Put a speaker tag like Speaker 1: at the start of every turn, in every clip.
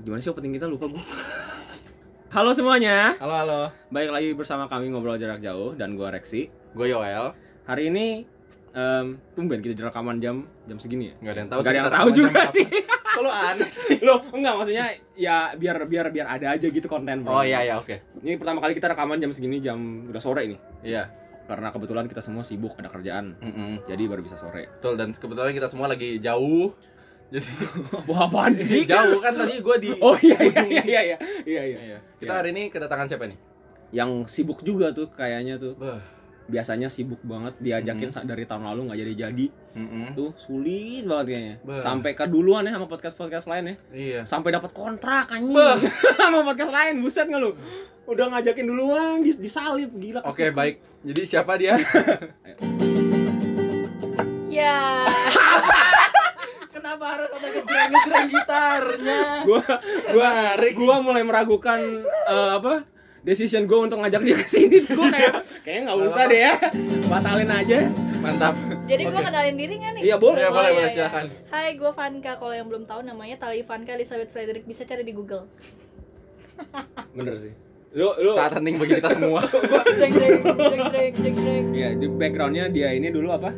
Speaker 1: gimana sih opening kita lupa gue halo semuanya
Speaker 2: Halo halo,
Speaker 1: baik lagi bersama kami ngobrol jarak jauh dan gue Rexi
Speaker 2: gue Yoel.
Speaker 1: hari ini em, tumben kita rekaman jam jam segini ya
Speaker 2: Gak ada yang tahu.
Speaker 1: Gak
Speaker 2: sih
Speaker 1: ada yang
Speaker 2: kita
Speaker 1: tahu
Speaker 2: rekaman
Speaker 1: juga
Speaker 2: jam
Speaker 1: sih
Speaker 2: berapa. Kok lu aneh sih?
Speaker 1: loh enggak maksudnya ya biar biar biar ada aja gitu konten bro.
Speaker 2: Oh iya iya oke.
Speaker 1: ini pertama kali kita rekaman jam segini jam udah sore ini
Speaker 2: Iya.
Speaker 1: karena kebetulan kita semua sibuk ada kerjaan
Speaker 2: Mm-mm.
Speaker 1: jadi baru bisa sore
Speaker 2: Betul dan kebetulan kita semua lagi jauh. Jadi
Speaker 1: wah apaan sih
Speaker 2: jauh kan tadi gue di.
Speaker 1: oh iya iya iya iya iya iya, iya.
Speaker 2: Iya. Kita hari ini kedatangan siapa nih?
Speaker 1: yang sibuk juga tuh kayaknya tuh
Speaker 2: Bah.
Speaker 1: biasanya sibuk banget diajakin
Speaker 2: Mhm.
Speaker 1: sa- dari tahun lalu nggak jadi-jadi
Speaker 2: Mm-mm.
Speaker 1: tuh sulit banget kayaknya
Speaker 2: Bah.
Speaker 1: sampai keduluan ya sama podcast podcast lain ya
Speaker 2: Iya.
Speaker 1: sampai dapat kontrak anjing
Speaker 2: Bah.
Speaker 1: sama podcast lain buset nggak lu udah ngajakin duluan dis- disalip gila
Speaker 2: Oke baik. Jadi siapa dia?
Speaker 3: Ya.
Speaker 2: Kenapa harus ada kejreng-kejreng gitarnya?
Speaker 1: gua
Speaker 2: Gua
Speaker 1: gua
Speaker 2: Rick.
Speaker 1: gua mulai meragukan eh, apa decision gua untuk ngajak dia ke sini gua kayak kayaknya nggak
Speaker 2: Nggak
Speaker 1: usah
Speaker 2: apa-apa.
Speaker 1: deh ya batalin aja
Speaker 2: Mantap.
Speaker 3: Jadi gue
Speaker 2: Oke.
Speaker 3: kenalin diri nggak nih?
Speaker 1: iya boleh
Speaker 2: Ya, boleh
Speaker 3: iya,
Speaker 2: boleh
Speaker 3: iya.
Speaker 2: silakan.
Speaker 3: Hai, gue Vanka. Kalau yang belum tahu namanya Tali Vanka Elizabeth Frederick bisa cari di Google.
Speaker 1: bener sih lu lu
Speaker 2: Saat hening bagi kita semua.
Speaker 3: Jeng jeng jeng jeng jeng jeng.
Speaker 1: ya di backgroundnya dia ini dulu apa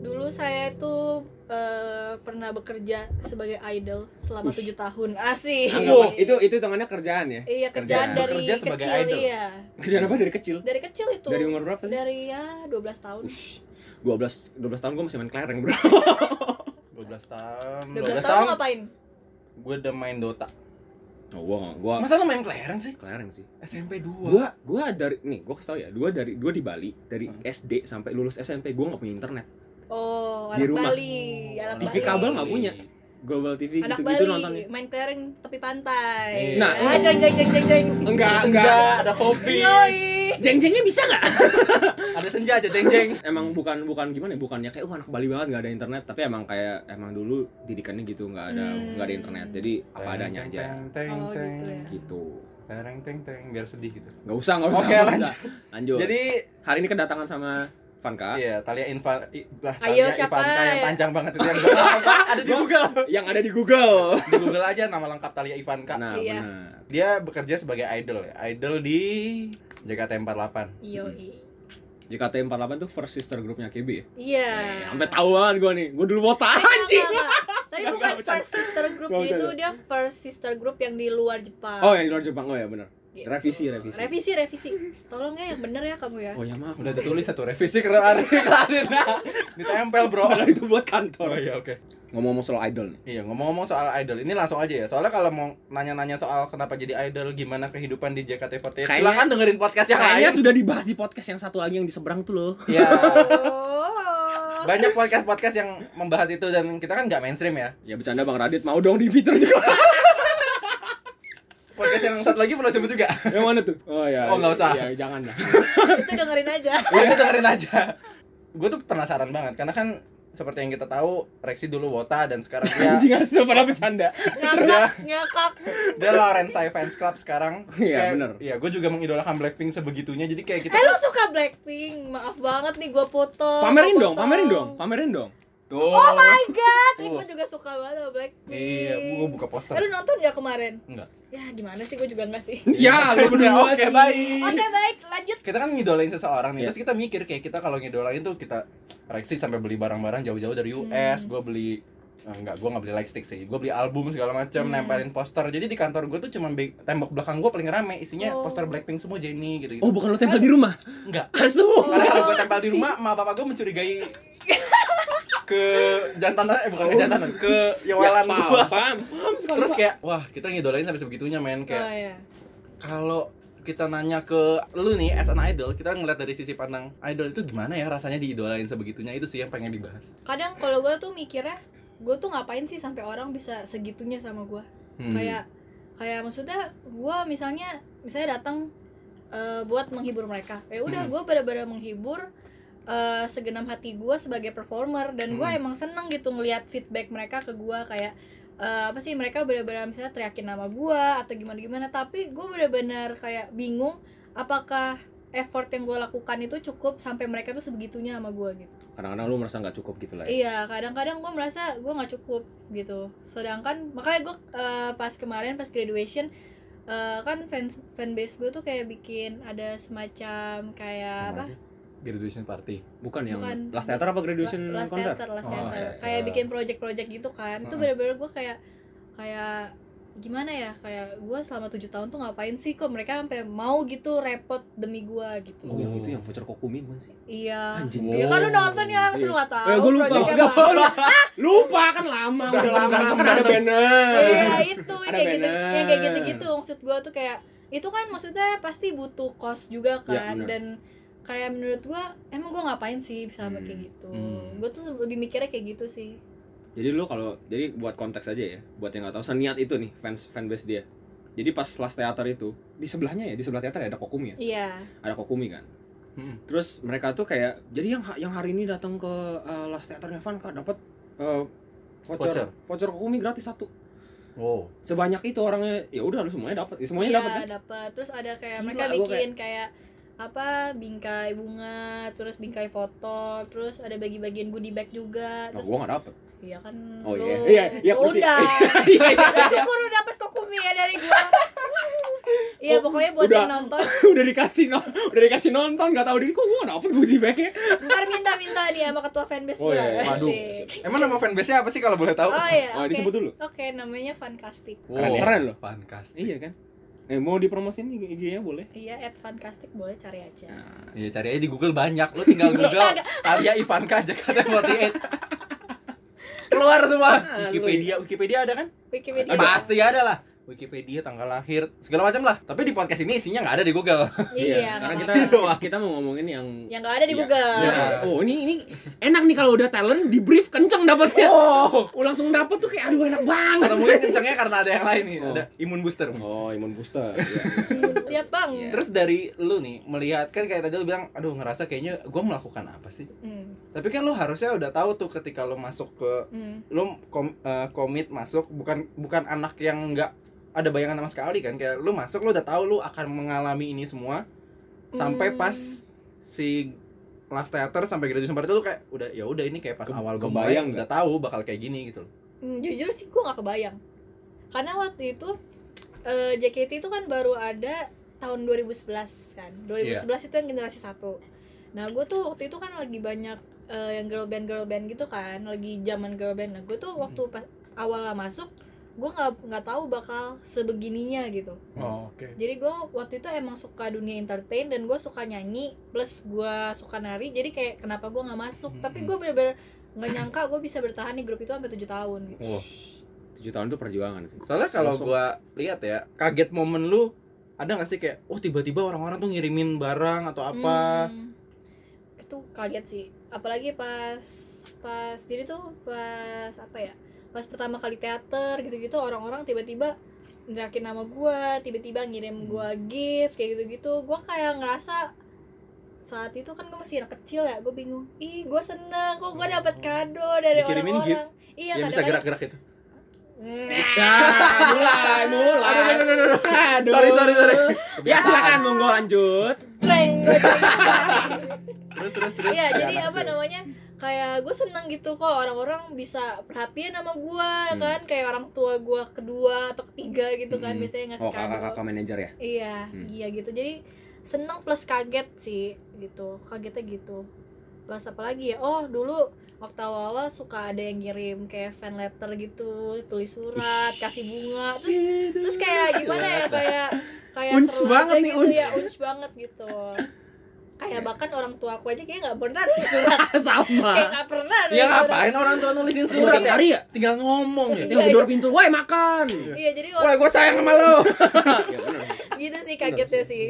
Speaker 3: Dulu saya tuh eh, pernah bekerja sebagai idol
Speaker 1: Ush.
Speaker 3: selama tujuh tahun. Asih.
Speaker 1: Anggapan- itu itu hitungannya kerjaan ya
Speaker 3: Iya,
Speaker 1: Kerjaan.
Speaker 3: kerjaan dari
Speaker 2: Bekerja
Speaker 3: kecil
Speaker 2: sebagai idol.
Speaker 3: iya.
Speaker 1: kerjaan apa dari kecil
Speaker 3: Dari kecil itu.
Speaker 1: dari umur berapa sih
Speaker 3: Dari ya 12 tahun.
Speaker 1: Ush, 12 12 tahun gue masih main kelereng bro
Speaker 2: 12 tahun.
Speaker 3: 12, tahun, ngapain?
Speaker 2: Gue udah main Dota.
Speaker 1: oh, gua gua
Speaker 2: Masa lu main kelereng sih?
Speaker 1: kelereng sih
Speaker 2: SMP 2.
Speaker 1: gua gua dari nih gua kasih tau ya gua dari gua di Bali dari SD sampai lulus SMP gua nggak punya internet
Speaker 3: Oh,
Speaker 1: Di
Speaker 3: anak
Speaker 1: rumah.
Speaker 3: Bali. Anak
Speaker 1: TV
Speaker 3: Bali.
Speaker 1: kabel nggak punya. Global TV
Speaker 3: Anak
Speaker 1: gitu-gitu
Speaker 3: Bali
Speaker 1: nontonnya Iya.
Speaker 3: main kelereng tepi pantai.
Speaker 2: Nah.
Speaker 3: ah, jeng jeng jeng jeng jeng.
Speaker 1: enggak
Speaker 2: Senja,
Speaker 1: enggak
Speaker 2: ada kopi.
Speaker 3: Yoi.
Speaker 1: jeng-jengnya bisa nggak
Speaker 2: Ada senja aja jeng-jeng.
Speaker 1: emang bukan bukan gimana ya bukannya kayak wah anak Bali banget nggak ada internet tapi emang kayak emang dulu didikannya gitu nggak ada
Speaker 3: Hmm.
Speaker 1: nggak ada internet jadi apa adanya aja
Speaker 2: Teng
Speaker 3: Oh,
Speaker 2: teng
Speaker 3: gitu ya.
Speaker 1: gitu
Speaker 2: Tereng teng teng biar sedih gitu.
Speaker 1: nggak usah nggak usah
Speaker 2: Oke,
Speaker 1: nggak
Speaker 2: lanjut.
Speaker 1: usah. lanjut jadi
Speaker 2: Jadi
Speaker 1: hari ini kedatangan sama Vanka
Speaker 2: iya Talia Inva i- lah
Speaker 3: Ayo,
Speaker 2: Talia
Speaker 3: siapa?
Speaker 2: Ivanka yang panjang banget itu yang ada di Google.
Speaker 1: yang ada di Google
Speaker 2: Di Google aja nama lengkap Talia Ivanka.
Speaker 1: nah
Speaker 3: Iya.
Speaker 1: benar
Speaker 2: Dia bekerja sebagai idol ya. Idol di JKT48.
Speaker 1: Iya.
Speaker 3: Yoi.
Speaker 1: JKT48 tuh first sister grupnya KB ya?
Speaker 3: Iya.
Speaker 1: Eh, Sampai tahu banget gue nih, gue dulu mau
Speaker 3: Eh,
Speaker 2: Iya,
Speaker 1: tahan
Speaker 3: enggak,
Speaker 1: anjing
Speaker 3: enggak, enggak. Tapi
Speaker 1: Enggak,
Speaker 3: bukan
Speaker 1: enggak, bercanda.
Speaker 3: first sister group
Speaker 1: Enggak,
Speaker 3: itu dia first sister group yang di luar
Speaker 2: iya.
Speaker 3: Jepang.
Speaker 1: Oh yang di luar Jepang, oh ya bener
Speaker 3: Gitu.
Speaker 1: revisi, revisi.
Speaker 3: Revisi, revisi. Tolong ya yang bener ya kamu ya.
Speaker 1: Oh ya maaf,
Speaker 2: Udah ditulis satu revisi keren keren. Ditempel, Bro.
Speaker 1: Padahal itu buat
Speaker 2: Oh
Speaker 1: kantor
Speaker 2: iya, oke.
Speaker 1: Ngomong-ngomong soal idol nih
Speaker 2: Iya, ngomong-ngomong soal idol, ini langsung aja ya. Soalnya kalau mau nanya-nanya soal kenapa jadi idol, gimana kehidupan di JKT48,
Speaker 1: Kayaknya-
Speaker 2: silakan dengerin podcast yang
Speaker 1: Kayaknya
Speaker 2: lain.
Speaker 1: sudah dibahas di podcast yang satu lagi yang di seberang tuh loh
Speaker 2: Iya.
Speaker 3: Oh.
Speaker 2: Banyak podcast-podcast yang membahas itu dan kita kan nggak mainstream ya.
Speaker 1: Ya bercanda Bang Radit, mau dong di fitur juga
Speaker 2: Podcast yang satu lagi perlu sebut juga.
Speaker 1: Yang mana tuh? Oh ya
Speaker 2: Oh, nggak usah.
Speaker 1: Ya jangan lah
Speaker 3: itu dengerin aja.
Speaker 1: Iya.
Speaker 2: Itu dengerin aja. Gue tuh penasaran banget karena kan seperti yang kita tahu, Rexy dulu Wota dan sekarang dia
Speaker 1: Anjing asal pernah bercanda
Speaker 3: Ngakak, ngakak.
Speaker 2: dia Lorenzai Fans Club sekarang.
Speaker 1: Iya
Speaker 2: Kayak-
Speaker 1: bener
Speaker 2: Iya, gue juga mengidolakan Blackpink sebegitunya. Jadi kayak kita
Speaker 3: Eh lu suka Blackpink? Maaf banget nih gua foto.
Speaker 1: Pamerin
Speaker 3: gua
Speaker 1: dong,
Speaker 3: potong.
Speaker 1: pamerin dong,
Speaker 2: Oh.
Speaker 1: Oh. pamerin dong
Speaker 2: Tuh. Oh my
Speaker 3: Ah, Tapi gua juga suka banget sama Blackpink.
Speaker 2: Iya, gue buka
Speaker 3: Eh,
Speaker 2: poster.
Speaker 3: lu nonton gak kemarin?
Speaker 2: Enggak.
Speaker 3: Ya gimana sih, gue juga enggak sih
Speaker 1: Ya, lu berdua
Speaker 2: Iya. Oke,
Speaker 1: sih
Speaker 2: baik.
Speaker 3: Oke baik, lanjut
Speaker 2: kita kan ngidolain seseorang nih
Speaker 1: Iya.
Speaker 2: terus kita mikir kayak kita kalau ngidolain tuh kita reaksi sampai beli barang-barang jauh-jauh dari
Speaker 3: Hmm.
Speaker 2: US gue beli eh, enggak gue nggak beli lightstick sih gue beli album segala macam
Speaker 3: Hmm.
Speaker 2: nempelin poster jadi di kantor gue tuh cuman be- tembok belakang gue paling rame isinya
Speaker 3: Oh.
Speaker 2: poster Blackpink semua Jennie gitu gitu
Speaker 1: Oh bukan lo tempel di rumah?
Speaker 2: Enggak.
Speaker 1: Asu
Speaker 2: karena kalau gue
Speaker 3: Oh,
Speaker 2: tempel di rumah emak bapak gue mencurigai ke jantanan eh bukan ke
Speaker 3: Oh.
Speaker 2: jantanan ke yowelan
Speaker 1: Ya,
Speaker 2: gue
Speaker 1: Paham, paham sekali
Speaker 2: terus
Speaker 1: Pak.
Speaker 2: kayak wah kita ngidolain sampai sebegitunya men kayak
Speaker 3: Oh iya
Speaker 2: kalau kita nanya ke lu nih as an idol kita ngeliat dari sisi pandang idol itu gimana ya rasanya diidolain sebegitunya itu sih yang pengen dibahas
Speaker 3: Kadang kalau gue tuh mikirnya Gue tuh ngapain sih sampai orang bisa segitunya sama gue
Speaker 2: Hmm.
Speaker 3: Kayak Kayak maksudnya gue misalnya Misalnya datang eh, buat menghibur mereka Ya udah
Speaker 2: Hmm.
Speaker 3: gue bener-bener menghibur eh, segenap hati gue sebagai performer dan gue
Speaker 2: Hmm.
Speaker 3: emang seneng gitu ngelihat feedback mereka ke gue kayak eh, apa sih mereka benar-benar misalnya teriakin nama gue atau gimana gimana tapi gue benar-benar kayak bingung apakah effort yang gue lakukan itu cukup sampai mereka tuh sebegitunya sama gue gitu
Speaker 1: kadang-kadang lu merasa nggak cukup gitu lah ya.
Speaker 3: iya kadang-kadang gue merasa gue nggak cukup gitu sedangkan makanya gue eh, pas kemarin pas graduation eh, kan fans fanbase gue tuh kayak bikin ada semacam kayak apa
Speaker 2: Apa sih? Graduation party.
Speaker 1: bukan yang
Speaker 3: Bukan.
Speaker 1: last theater apa graduation
Speaker 3: La- last
Speaker 1: konser
Speaker 3: theater
Speaker 2: Oh,
Speaker 3: last theater.
Speaker 2: iya, iya.
Speaker 3: kayak bikin project-project gitu kan itu
Speaker 2: Mm-mm.
Speaker 3: bener-bener gue kayak kayak gimana ya kayak gue selama tujuh tahun tuh ngapain sih kok mereka sampai mau gitu repot demi gue gitu
Speaker 1: oh yang
Speaker 2: Oh.
Speaker 1: itu yang voucher kokumi bukan sih
Speaker 3: iya
Speaker 1: anjing
Speaker 2: Wow.
Speaker 3: Ya kan lu nonton ya, masa
Speaker 1: Iya.
Speaker 3: lu gak tau
Speaker 1: Eh, gua lupa.
Speaker 3: projectnya apa.
Speaker 1: lupa kan lama udah lama kan ada banner
Speaker 3: Iya itu,
Speaker 1: Ada
Speaker 3: yang kayak gitu,
Speaker 1: banner.
Speaker 3: yang kayak gitu-gitu maksud gua tuh kayak itu kan maksudnya pasti butuh cost juga
Speaker 1: Ya,
Speaker 3: kan
Speaker 1: bener.
Speaker 3: dan kayak menurut gua emang gua ngapain sih bisa sampai kayak
Speaker 1: Hmm,
Speaker 3: gitu.
Speaker 2: hmm.
Speaker 3: Gua tuh lebih mikirnya kayak gitu sih.
Speaker 1: jadi lu kalau jadi buat konteks aja ya buat yang nggak tahu seniat itu nih fans fanbase dia jadi pas last theater itu di sebelahnya ya di sebelah teater ya, ada kokumi ya
Speaker 3: Iya.
Speaker 1: ada kokumi kan
Speaker 2: Hmm.
Speaker 1: terus mereka tuh kayak jadi yang ha- yang hari ini datang ke eh, last theater Evan kak dapat eh,
Speaker 2: Voucher.
Speaker 1: voucher voucher kokumi gratis satu
Speaker 2: Wow.
Speaker 1: sebanyak itu orangnya ya udah lu semuanya dapat ya, semuanya
Speaker 3: Iya,
Speaker 1: dapat kan
Speaker 3: dapat. Terus ada kayak
Speaker 1: Gila,
Speaker 3: mereka
Speaker 1: gua
Speaker 3: bikin kayak apa bingkai bunga, terus bingkai foto, terus ada bagi-bagian goodie bag juga.
Speaker 1: nah,
Speaker 3: Terus
Speaker 1: gua nggak dapet
Speaker 3: iya kan.
Speaker 1: Oh,
Speaker 3: lu-
Speaker 1: iya. Iya, iya,
Speaker 3: lu
Speaker 1: kursi.
Speaker 3: Udah.
Speaker 1: Iya, iya.
Speaker 3: Udah cukup udah dapat kokumi ya dari gua. Iya pokoknya buat
Speaker 1: Udah.
Speaker 3: yang nonton
Speaker 1: udah dikasih no, udah dikasih nonton nggak tahu diri kok gua nggak dapet gue di bagnya
Speaker 3: ntar minta-minta nih sama ketua fanbase
Speaker 1: Oh,
Speaker 3: gua.
Speaker 1: iya, iya.
Speaker 2: Waduh.
Speaker 3: Asik.
Speaker 2: Emang nama fanbase-nya apa sih kalau boleh tahu?
Speaker 3: Oh iya.
Speaker 1: oh
Speaker 3: Oke.
Speaker 1: disebut dulu
Speaker 3: Oke, namanya Fancastic.
Speaker 1: Keren ya?
Speaker 2: keren loh. Fantastic.
Speaker 1: iya kan eh mau dipromosin IG-nya boleh
Speaker 3: Iya, at Fancastic boleh cari aja.
Speaker 1: Nah,
Speaker 2: Iya cari aja di Google banyak, lu tinggal Google
Speaker 3: Kagak.
Speaker 2: Arya Ivanka Jakarta 48 Keluar semua
Speaker 1: Ah, lu
Speaker 2: Wikipedia, Wikipedia ada kan?
Speaker 3: Wikipedia.
Speaker 1: Ada.
Speaker 2: Pasti ada lah Wikipedia, tanggal lahir, segala macam lah Tapi di podcast ini isinya nggak ada di Google
Speaker 3: Iya.
Speaker 1: karena
Speaker 3: nggak
Speaker 1: kita
Speaker 3: apa-apa.
Speaker 1: kita mau ngomongin yang
Speaker 3: yang gak ada di
Speaker 1: Iya.
Speaker 3: Google.
Speaker 2: Iya.
Speaker 1: Oh ini ini enak nih kalau udah talent di brief kenceng dapetnya.
Speaker 2: Oh,
Speaker 1: Oh langsung dapet tuh kayak aduh enak banget.
Speaker 2: atau mungkin kencengnya karena ada yang lain nih,
Speaker 1: Oh.
Speaker 2: ada imun booster
Speaker 1: Oh imun booster.
Speaker 3: Iya, Bang.
Speaker 1: Iya.
Speaker 2: Terus dari lu nih, melihat kan kayak tadi lu bilang, aduh ngerasa kayaknya gue melakukan apa sih?
Speaker 3: Hmm,
Speaker 2: Tapi kan lu harusnya udah tahu tuh ketika lu masuk ke
Speaker 3: hmm.
Speaker 2: lu kom- eh, komit masuk bukan bukan anak yang nggak ada bayangan sama sekali kan kayak lu masuk lu udah tahu lu akan mengalami ini semua sampai
Speaker 3: Hmm.
Speaker 2: pas si last theater sampai graduation party lu kayak udah ya udah ini kayak pas
Speaker 1: Ke-
Speaker 2: awal gue
Speaker 1: kebayang
Speaker 2: mulai, udah tahu bakal kayak gini gitu loh.
Speaker 3: Hmm, jujur sih gue gak kebayang karena waktu itu eh, JKT itu kan baru ada tahun 2011 kan 2011 itu yang generasi satu nah gue tuh waktu itu kan lagi banyak eh, yang girl band girl band gitu kan lagi zaman girl band nah gue tuh waktu pas awal masuk gue nggak nggak tahu bakal sebegininya gitu
Speaker 2: Oh, oke.
Speaker 3: jadi gue waktu itu emang suka dunia entertain dan gue suka nyanyi plus gue suka nari jadi kayak kenapa gue nggak masuk tapi gue bener-bener nggak nyangka gue bisa bertahan di grup itu sampai tujuh tahun gitu.
Speaker 2: Wah.
Speaker 1: Oh. Tujuh tahun tuh perjuangan sih.
Speaker 2: Soalnya kalau
Speaker 1: Langsung.
Speaker 2: gua lihat ya, kaget momen lu ada nggak sih kayak oh tiba-tiba orang-orang tuh ngirimin barang atau apa?
Speaker 3: Hmm. itu kaget sih apalagi pas pas jadi tuh pas apa ya pas pertama kali teater gitu-gitu orang-orang tiba-tiba nerakin nama gua tiba-tiba
Speaker 2: Hmm.
Speaker 3: ngirim gua gift kayak gitu-gitu gua kayak ngerasa saat itu kan gua masih anak kecil ya gue bingung ih gua seneng kok gua dapet kado dari
Speaker 2: Oh. Dikirimin
Speaker 3: orang-orang
Speaker 2: gift?
Speaker 3: iya
Speaker 2: yang bisa
Speaker 3: kadang-kadang-
Speaker 2: gerak-gerak gitu. itu.
Speaker 1: Ya, mulai, mulai.
Speaker 2: Aduh, aduh, aduh, aduh.
Speaker 1: Aduh.
Speaker 2: Sorry, sorry, sorry.
Speaker 3: Iya,
Speaker 1: Ya silakan monggo lanjut.
Speaker 3: Treng, gua treng.
Speaker 2: Terus terus terus.
Speaker 3: Iya,
Speaker 2: Kayak
Speaker 3: jadi
Speaker 2: anak
Speaker 3: apa
Speaker 2: kecil.
Speaker 3: namanya? Kayak gue seneng gitu kok orang-orang bisa perhatian sama gue kan, kayak orang tua gue kedua atau ketiga gitu kan
Speaker 2: Hmm.
Speaker 3: biasanya ngasih
Speaker 1: Oh kakak
Speaker 3: kado.
Speaker 1: kakak manajer ya.
Speaker 3: Iya,
Speaker 1: Hmm.
Speaker 3: iya gitu. Jadi seneng plus kaget sih gitu, kagetnya gitu. Plus apa lagi ya? Oh dulu waktu awal-awal suka ada yang ngirim kayak fan letter gitu, tulis surat, kasih bunga, terus terus
Speaker 1: Iya,
Speaker 3: kayak gimana ya kayak kayak
Speaker 1: Unch
Speaker 3: seru
Speaker 1: banget
Speaker 3: aja
Speaker 1: nih,
Speaker 3: gitu
Speaker 1: unch.
Speaker 3: ya unch banget gitu kayak
Speaker 1: Iya.
Speaker 3: bahkan orang tua aku aja kayak nggak pernah nulis surat kayak
Speaker 1: sama.
Speaker 3: nggak pernah nulis
Speaker 1: Iya,
Speaker 2: Ya
Speaker 3: surat.
Speaker 2: ngapain orang tua nulisin surat
Speaker 1: Surat
Speaker 2: ya?
Speaker 1: hari ya.
Speaker 2: Tinggal ngomong ya.
Speaker 1: Yang gedor Iya, pintu, woi makan.
Speaker 3: iya jadi
Speaker 2: Wah,
Speaker 3: orang
Speaker 2: gue sayang sama lo.
Speaker 1: Ya benar.
Speaker 3: gitu sih kagetnya
Speaker 1: Iya,
Speaker 3: sih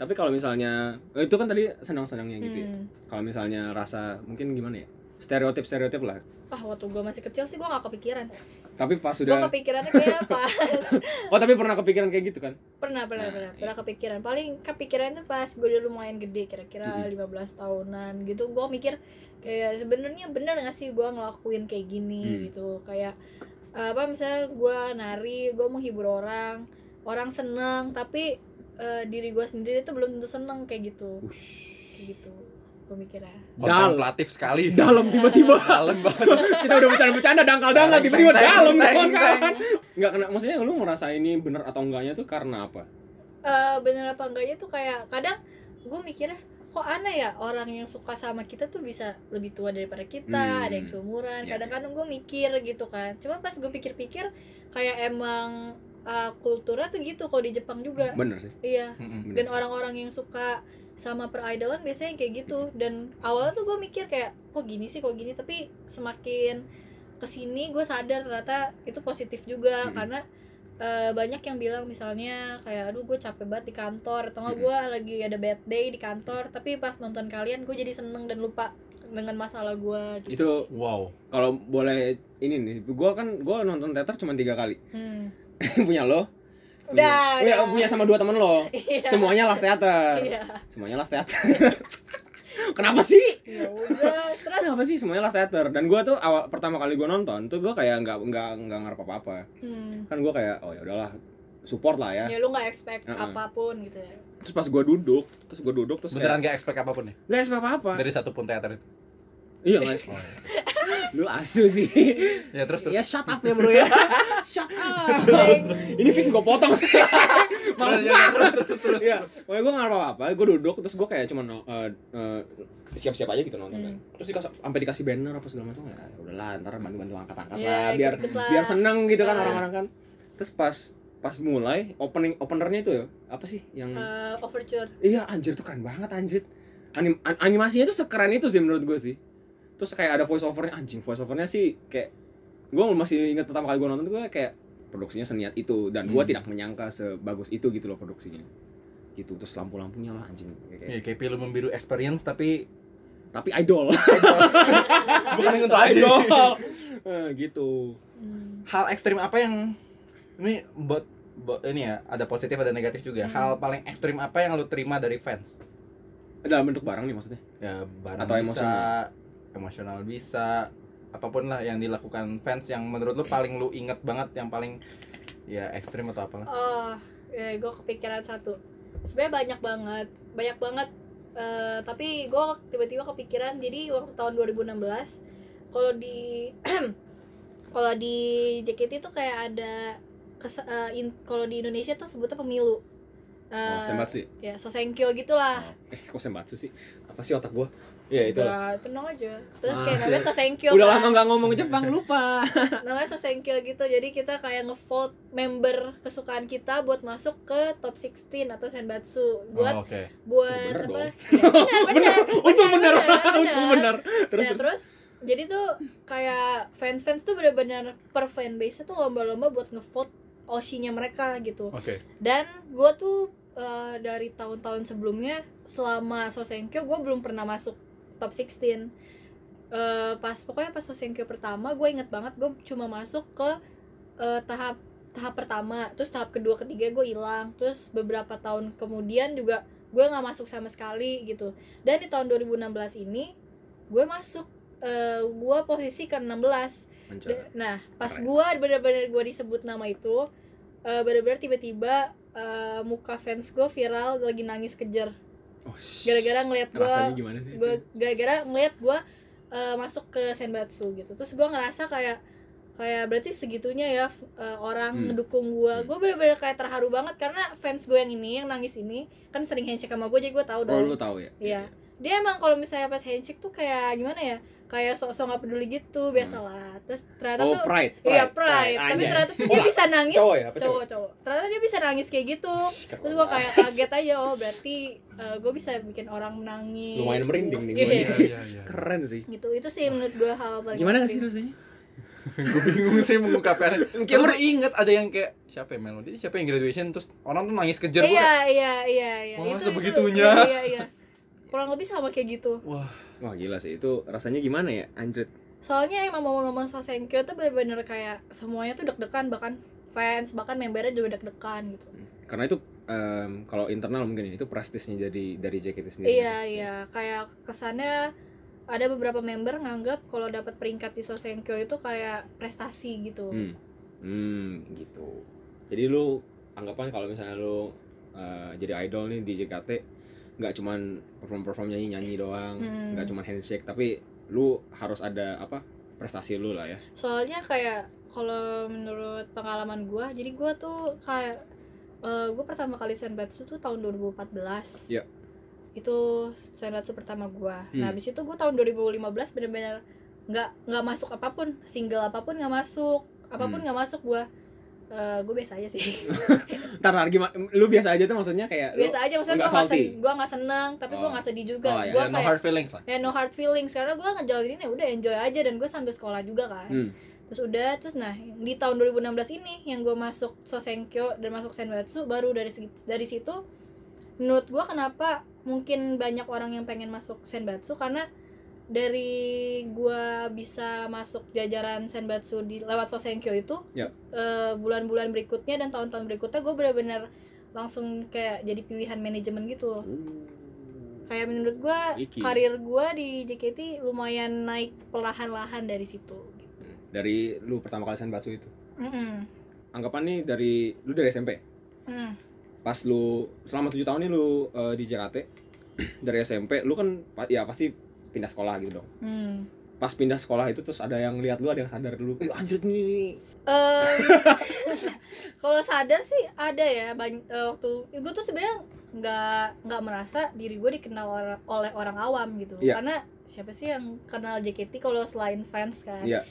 Speaker 1: Tapi kalau misalnya eh, itu kan tadi senang-senangnya gitu ya.
Speaker 3: Hmm.
Speaker 1: Kalau misalnya rasa mungkin gimana ya? Stereotip-stereotip lah.
Speaker 3: Wah, waktu gue masih kecil sih gue gak kepikiran
Speaker 1: Tapi pas
Speaker 3: Gue
Speaker 1: sudah
Speaker 3: kepikirannya kayak apa
Speaker 1: Oh, tapi pernah kepikiran kayak gitu kan?
Speaker 3: Pernah, pernah,
Speaker 1: Nah,
Speaker 3: pernah,
Speaker 1: iya.
Speaker 3: pernah kepikiran Paling kepikiran itu pas gue udah lumayan gede Kira-kira
Speaker 1: Mm-mm.
Speaker 3: 15 tahunan gitu Gue mikir kayak sebenarnya bener gak sih gue ngelakuin kayak gini
Speaker 1: Hmm.
Speaker 3: gitu Kayak eh, apa misalnya gue nari, gue menghibur orang Orang seneng, tapi eh, diri gue sendiri tuh belum tentu seneng kayak gitu
Speaker 1: Ush.
Speaker 3: kayak gitu gue mikirnya
Speaker 1: Dal-
Speaker 2: Kontemplatif sekali.
Speaker 1: dalam tiba-tiba
Speaker 2: Dalam banget.
Speaker 1: kita udah bercanda-bercanda dangkal-dangkal tiba-tiba
Speaker 2: Teng,
Speaker 1: dalam
Speaker 2: teng,
Speaker 1: kawan-kawan
Speaker 2: teng.
Speaker 1: nggak kena maksudnya lu merasa ini bener atau enggaknya tuh karena apa
Speaker 3: Eh, bener apa enggaknya tuh kayak kadang gue mikirnya kok aneh ya orang yang suka sama kita tuh bisa lebih tua daripada kita
Speaker 1: Hmm.
Speaker 3: ada yang seumuran
Speaker 1: Ya.
Speaker 3: kadang-kadang gue mikir gitu kan cuma pas gue pikir-pikir kayak emang eh, kulturnya tuh gitu kalau di Jepang juga
Speaker 1: bener sih
Speaker 3: iya
Speaker 2: Mm-mm.
Speaker 1: bener.
Speaker 3: dan orang-orang yang suka sama peridolan biasanya yang kayak gitu dan awalnya tuh gue mikir kayak kok gini sih kok gini tapi semakin kesini gue sadar ternyata itu positif juga
Speaker 1: Mm-mm.
Speaker 3: karena eh, banyak yang bilang misalnya kayak aduh gue capek banget di kantor atau nggak
Speaker 1: Mm-mm.
Speaker 3: gue lagi ada bad day di kantor tapi pas nonton kalian gue jadi seneng dan lupa dengan masalah gue gitu
Speaker 1: itu
Speaker 2: Wow.
Speaker 1: kalau boleh ini nih gua kan gua nonton teater cuma tiga kali
Speaker 3: Hmm.
Speaker 1: punya lo
Speaker 3: udah
Speaker 1: punya,
Speaker 3: udah.
Speaker 1: punya sama dua temen lo
Speaker 3: Iya,
Speaker 1: semuanya las teater
Speaker 3: iya
Speaker 1: semuanya las teater kenapa sih
Speaker 3: ya udah terus
Speaker 1: kenapa sih semuanya las teater dan gua tuh awal pertama kali gua nonton tuh gua kayak nggak nggak nggak ngarep apa apa
Speaker 3: hmm.
Speaker 1: kan gua kayak oh ya udahlah support lah ya
Speaker 3: ya lu nggak expect
Speaker 1: Uh-uh.
Speaker 3: apapun gitu ya
Speaker 1: terus pas gua duduk terus gua duduk terus
Speaker 2: Beneran gak expect apapun ya?
Speaker 1: kayak nggak expect apa apa
Speaker 2: Dari satu pun teater itu.
Speaker 1: iya nggak expect. lu asu sih
Speaker 2: Ya terus terus.
Speaker 3: Iya,
Speaker 1: ya shut up ya bro ya shut up ini fix gua potong sih
Speaker 2: Terus,
Speaker 1: males
Speaker 2: ya,
Speaker 1: banget
Speaker 2: terus terus terus.
Speaker 1: Iya, pokoknya gue nggak apa-apa, gue duduk terus gue kayak cuma siap-siap aja gitu nonton kan. Terus dikasih sampai dikasih banner apa segala macam ya udahlah ntar bantu-bantu angkat-angkat lah biar biar seneng gitu kan
Speaker 3: Ya, Iya.
Speaker 1: orang-orang kan. Terus pas pas mulai opening openernya itu ya, apa sih yang
Speaker 3: Eh, overture
Speaker 1: iya anjir tuh keren banget anjir. Anim, an- animasinya tuh sekeren itu sih menurut gue sih. Terus kayak ada voice overnya anjing voice overnya sih kayak gue masih ingat pertama kali gue nonton tuh gue kayak produksinya seniat itu dan gue
Speaker 2: Hmm.
Speaker 1: tidak menyangka sebagus itu gitu loh produksinya gitu terus lampu-lampunya lah anjing kayak-
Speaker 2: Ya, kayak film membiru experience tapi
Speaker 1: tapi idol
Speaker 2: bukan yang untuk aja.
Speaker 1: idol Eh, gitu
Speaker 3: Hmm.
Speaker 2: Hal ekstrim apa yang ini buat buat- ini ya ada positif ada negatif juga. ya.
Speaker 3: Hmm.
Speaker 2: Hal paling ekstrim apa yang lu terima dari fans?
Speaker 1: dalam bentuk barang nih maksudnya
Speaker 2: ya barang
Speaker 1: Atau
Speaker 2: bisa,
Speaker 1: emosional?
Speaker 2: emosional bisa apapun lah yang dilakukan fans yang menurut lu paling lu inget banget yang paling ya ekstrim atau apalah
Speaker 3: oh gue kepikiran satu sebenarnya banyak banget banyak banget eh, tapi gue tiba-tiba kepikiran jadi waktu tahun 2016 kalau di kalau di JKT tuh kayak ada kes- eh, in- kalau di Indonesia tuh sebutnya pemilu
Speaker 1: oh
Speaker 3: Eh,
Speaker 1: sembatsu ya
Speaker 3: ya sosenkyo gitulah
Speaker 1: Oh. eh kok sembatsu sih apa sih otak gua
Speaker 2: Iya,
Speaker 1: ya itu lah
Speaker 3: Udah, tenang aja terus
Speaker 1: Ah,
Speaker 3: kayak namanya sosenkyo
Speaker 1: udah
Speaker 3: kan.
Speaker 1: lama nggak ngomong Jepang lupa
Speaker 3: namanya sosenkyo gitu jadi kita kayak ngevote member kesukaan kita buat masuk ke top 16 atau senbatsu buat
Speaker 2: oh, oke
Speaker 3: buat
Speaker 1: iya, Bener
Speaker 3: apa
Speaker 1: dong.
Speaker 3: ya, bener,
Speaker 1: untung bener
Speaker 3: bener,
Speaker 1: untung bener terus
Speaker 3: Nah, terus jadi tuh kayak fans-fans tuh bener-bener per fanbase tuh lomba-lomba buat ngevote Oshinya mereka gitu
Speaker 2: oke
Speaker 3: dan gue tuh eh, dari tahun-tahun sebelumnya selama Sosenkyo gue belum pernah masuk top 16 Eh, pas pokoknya pas Sosenkyo pertama gue inget banget gue cuma masuk ke eh, tahap tahap pertama terus tahap kedua ketiga gue hilang terus beberapa tahun kemudian juga gue nggak masuk sama sekali gitu dan di tahun 2016 ini gue masuk eh, gue posisi ke 16
Speaker 1: Lancar.
Speaker 3: Nah, pas
Speaker 1: Keren.
Speaker 3: gua bener-bener gua disebut nama itu, eh, bener-bener tiba-tiba eh, muka fans gua viral lagi nangis kejer.
Speaker 1: Oh, shh.
Speaker 3: Gara-gara ngeliat
Speaker 1: rasanya
Speaker 3: gua
Speaker 1: gimana sih itu?
Speaker 3: gua gara-gara ngeliat gua eh, masuk ke Senbatsu gitu. Terus gua ngerasa kayak kayak berarti segitunya ya f- eh, orang
Speaker 1: Hmm.
Speaker 3: ngedukung
Speaker 1: Hmm.
Speaker 3: gua. Gua bener-bener kayak terharu banget karena fans gua yang ini yang nangis ini kan sering handshake sama gua jadi gua
Speaker 1: oh
Speaker 3: tahu dong.
Speaker 1: lu tahu ya
Speaker 3: Iya. dia emang kalau misalnya pas handshake tuh kayak gimana ya? Kayak sok-sok nggak peduli gitu biasalah. Terus ternyata
Speaker 1: Hmm. oh
Speaker 3: tuh
Speaker 1: pride
Speaker 3: Iya pride, tapi
Speaker 1: Anjay.
Speaker 3: ternyata tuh dia
Speaker 1: Orang.
Speaker 3: bisa nangis
Speaker 1: cowok ya apa cowok?
Speaker 3: cowok cowok. Ternyata dia bisa nangis kayak gitu.
Speaker 1: Shh,
Speaker 3: Terus gue kayak kaget aja, oh berarti gue bisa bikin orang menangis.
Speaker 1: Lumayan merinding nih
Speaker 3: Iya.
Speaker 1: gua
Speaker 2: iya iya iya
Speaker 1: keren sih
Speaker 3: Gitu itu sih menurut gue hal paling.
Speaker 1: gimana sih
Speaker 3: ekstrim.
Speaker 1: rasanya
Speaker 2: gue bingung sih mengungkapkan
Speaker 1: mungkin
Speaker 2: kayak baru inget ada yang kayak siapa ya melodi siapa yang graduation terus orang tuh nangis kejer gua
Speaker 3: Iya iya iya iya.
Speaker 2: Wah,
Speaker 3: itu
Speaker 2: sebegitunya.
Speaker 3: Itu, iya iya. Kurang lebih sama kayak gitu.
Speaker 2: wah
Speaker 1: wah gila sih itu rasanya gimana ya anjir
Speaker 3: Soalnya emang momen-momen Sosenkyo tuh bener-bener kayak semuanya tuh deg-degan bahkan fans bahkan membernya juga deg-degan gitu.
Speaker 1: karena itu em, kalau internal mungkin ya, itu prestisnya dari dari JKT sendiri
Speaker 3: Iya iya, kayak kesannya ada beberapa member nganggap kalau dapat peringkat di Sosenkyo itu kayak prestasi gitu.
Speaker 1: hmm. Hmm, gitu jadi lu anggapan kalau misalnya lu eh, jadi idol nih di JKT nggak cuman perform perform nyanyi nyanyi doang
Speaker 3: Hmm.
Speaker 1: nggak cuman handshake tapi lu harus ada apa prestasi lu lah ya
Speaker 3: soalnya kayak kalau menurut pengalaman gua jadi gua tuh kayak eh, gua pertama kali senbatsu tuh tahun 2014
Speaker 1: Iya.
Speaker 3: itu senbatsu pertama gua nah
Speaker 1: Hmm.
Speaker 3: habis itu gua tahun 2015 bener-bener nggak nggak masuk apapun single apapun nggak masuk apapun nggak masuk gua Eh, gua biasa aja sih
Speaker 1: ntar ntar gimana lu biasa aja tuh maksudnya kayak lu
Speaker 3: biasa aja maksudnya
Speaker 1: nggak
Speaker 3: gua nggak
Speaker 1: salty?
Speaker 3: sen- gua nggak seneng tapi gua
Speaker 1: Oh.
Speaker 3: nggak sedih juga
Speaker 1: Oh, ya,
Speaker 3: gua
Speaker 2: Ya, no
Speaker 3: kayak
Speaker 2: hard feelings lah.
Speaker 3: ya no hard feelings karena gua ngejalanin ya udah enjoy aja dan gua sambil sekolah juga kan
Speaker 1: Hmm.
Speaker 3: terus udah terus nah di tahun 2016 ini yang gue masuk Sosenkyo dan masuk Senbatsu baru dari segi- dari situ menurut gue kenapa mungkin banyak orang yang pengen masuk Senbatsu karena dari gue bisa masuk jajaran Senbatsu di lewat Sosenkyo itu
Speaker 1: Ya.
Speaker 3: eh, bulan-bulan berikutnya dan tahun-tahun berikutnya gue bener-bener langsung kayak jadi pilihan manajemen gitu kayak menurut gue
Speaker 1: Iki.
Speaker 3: karir gue di JKT lumayan naik perlahan-lahan dari situ
Speaker 1: Hmm. dari lu pertama kali senbatsu itu
Speaker 3: Mm-mm.
Speaker 1: anggapan nih dari lu dari SMP
Speaker 3: Mm.
Speaker 1: pas lu selama tujuh tahun nih lu eh, di JKT dari SMP lu kan pa- ya pasti pindah sekolah gitu dong
Speaker 3: Hmm.
Speaker 1: pas pindah sekolah itu terus ada yang lihat lu ada yang sadar dulu eh anjir nih
Speaker 3: Em, kalau sadar sih ada ya bany- eh, waktu gue tuh sebenarnya nggak nggak merasa diri gue dikenal or- oleh orang awam gitu
Speaker 1: Iya.
Speaker 3: karena siapa sih yang kenal JKT kalau selain fans kan
Speaker 1: Iya.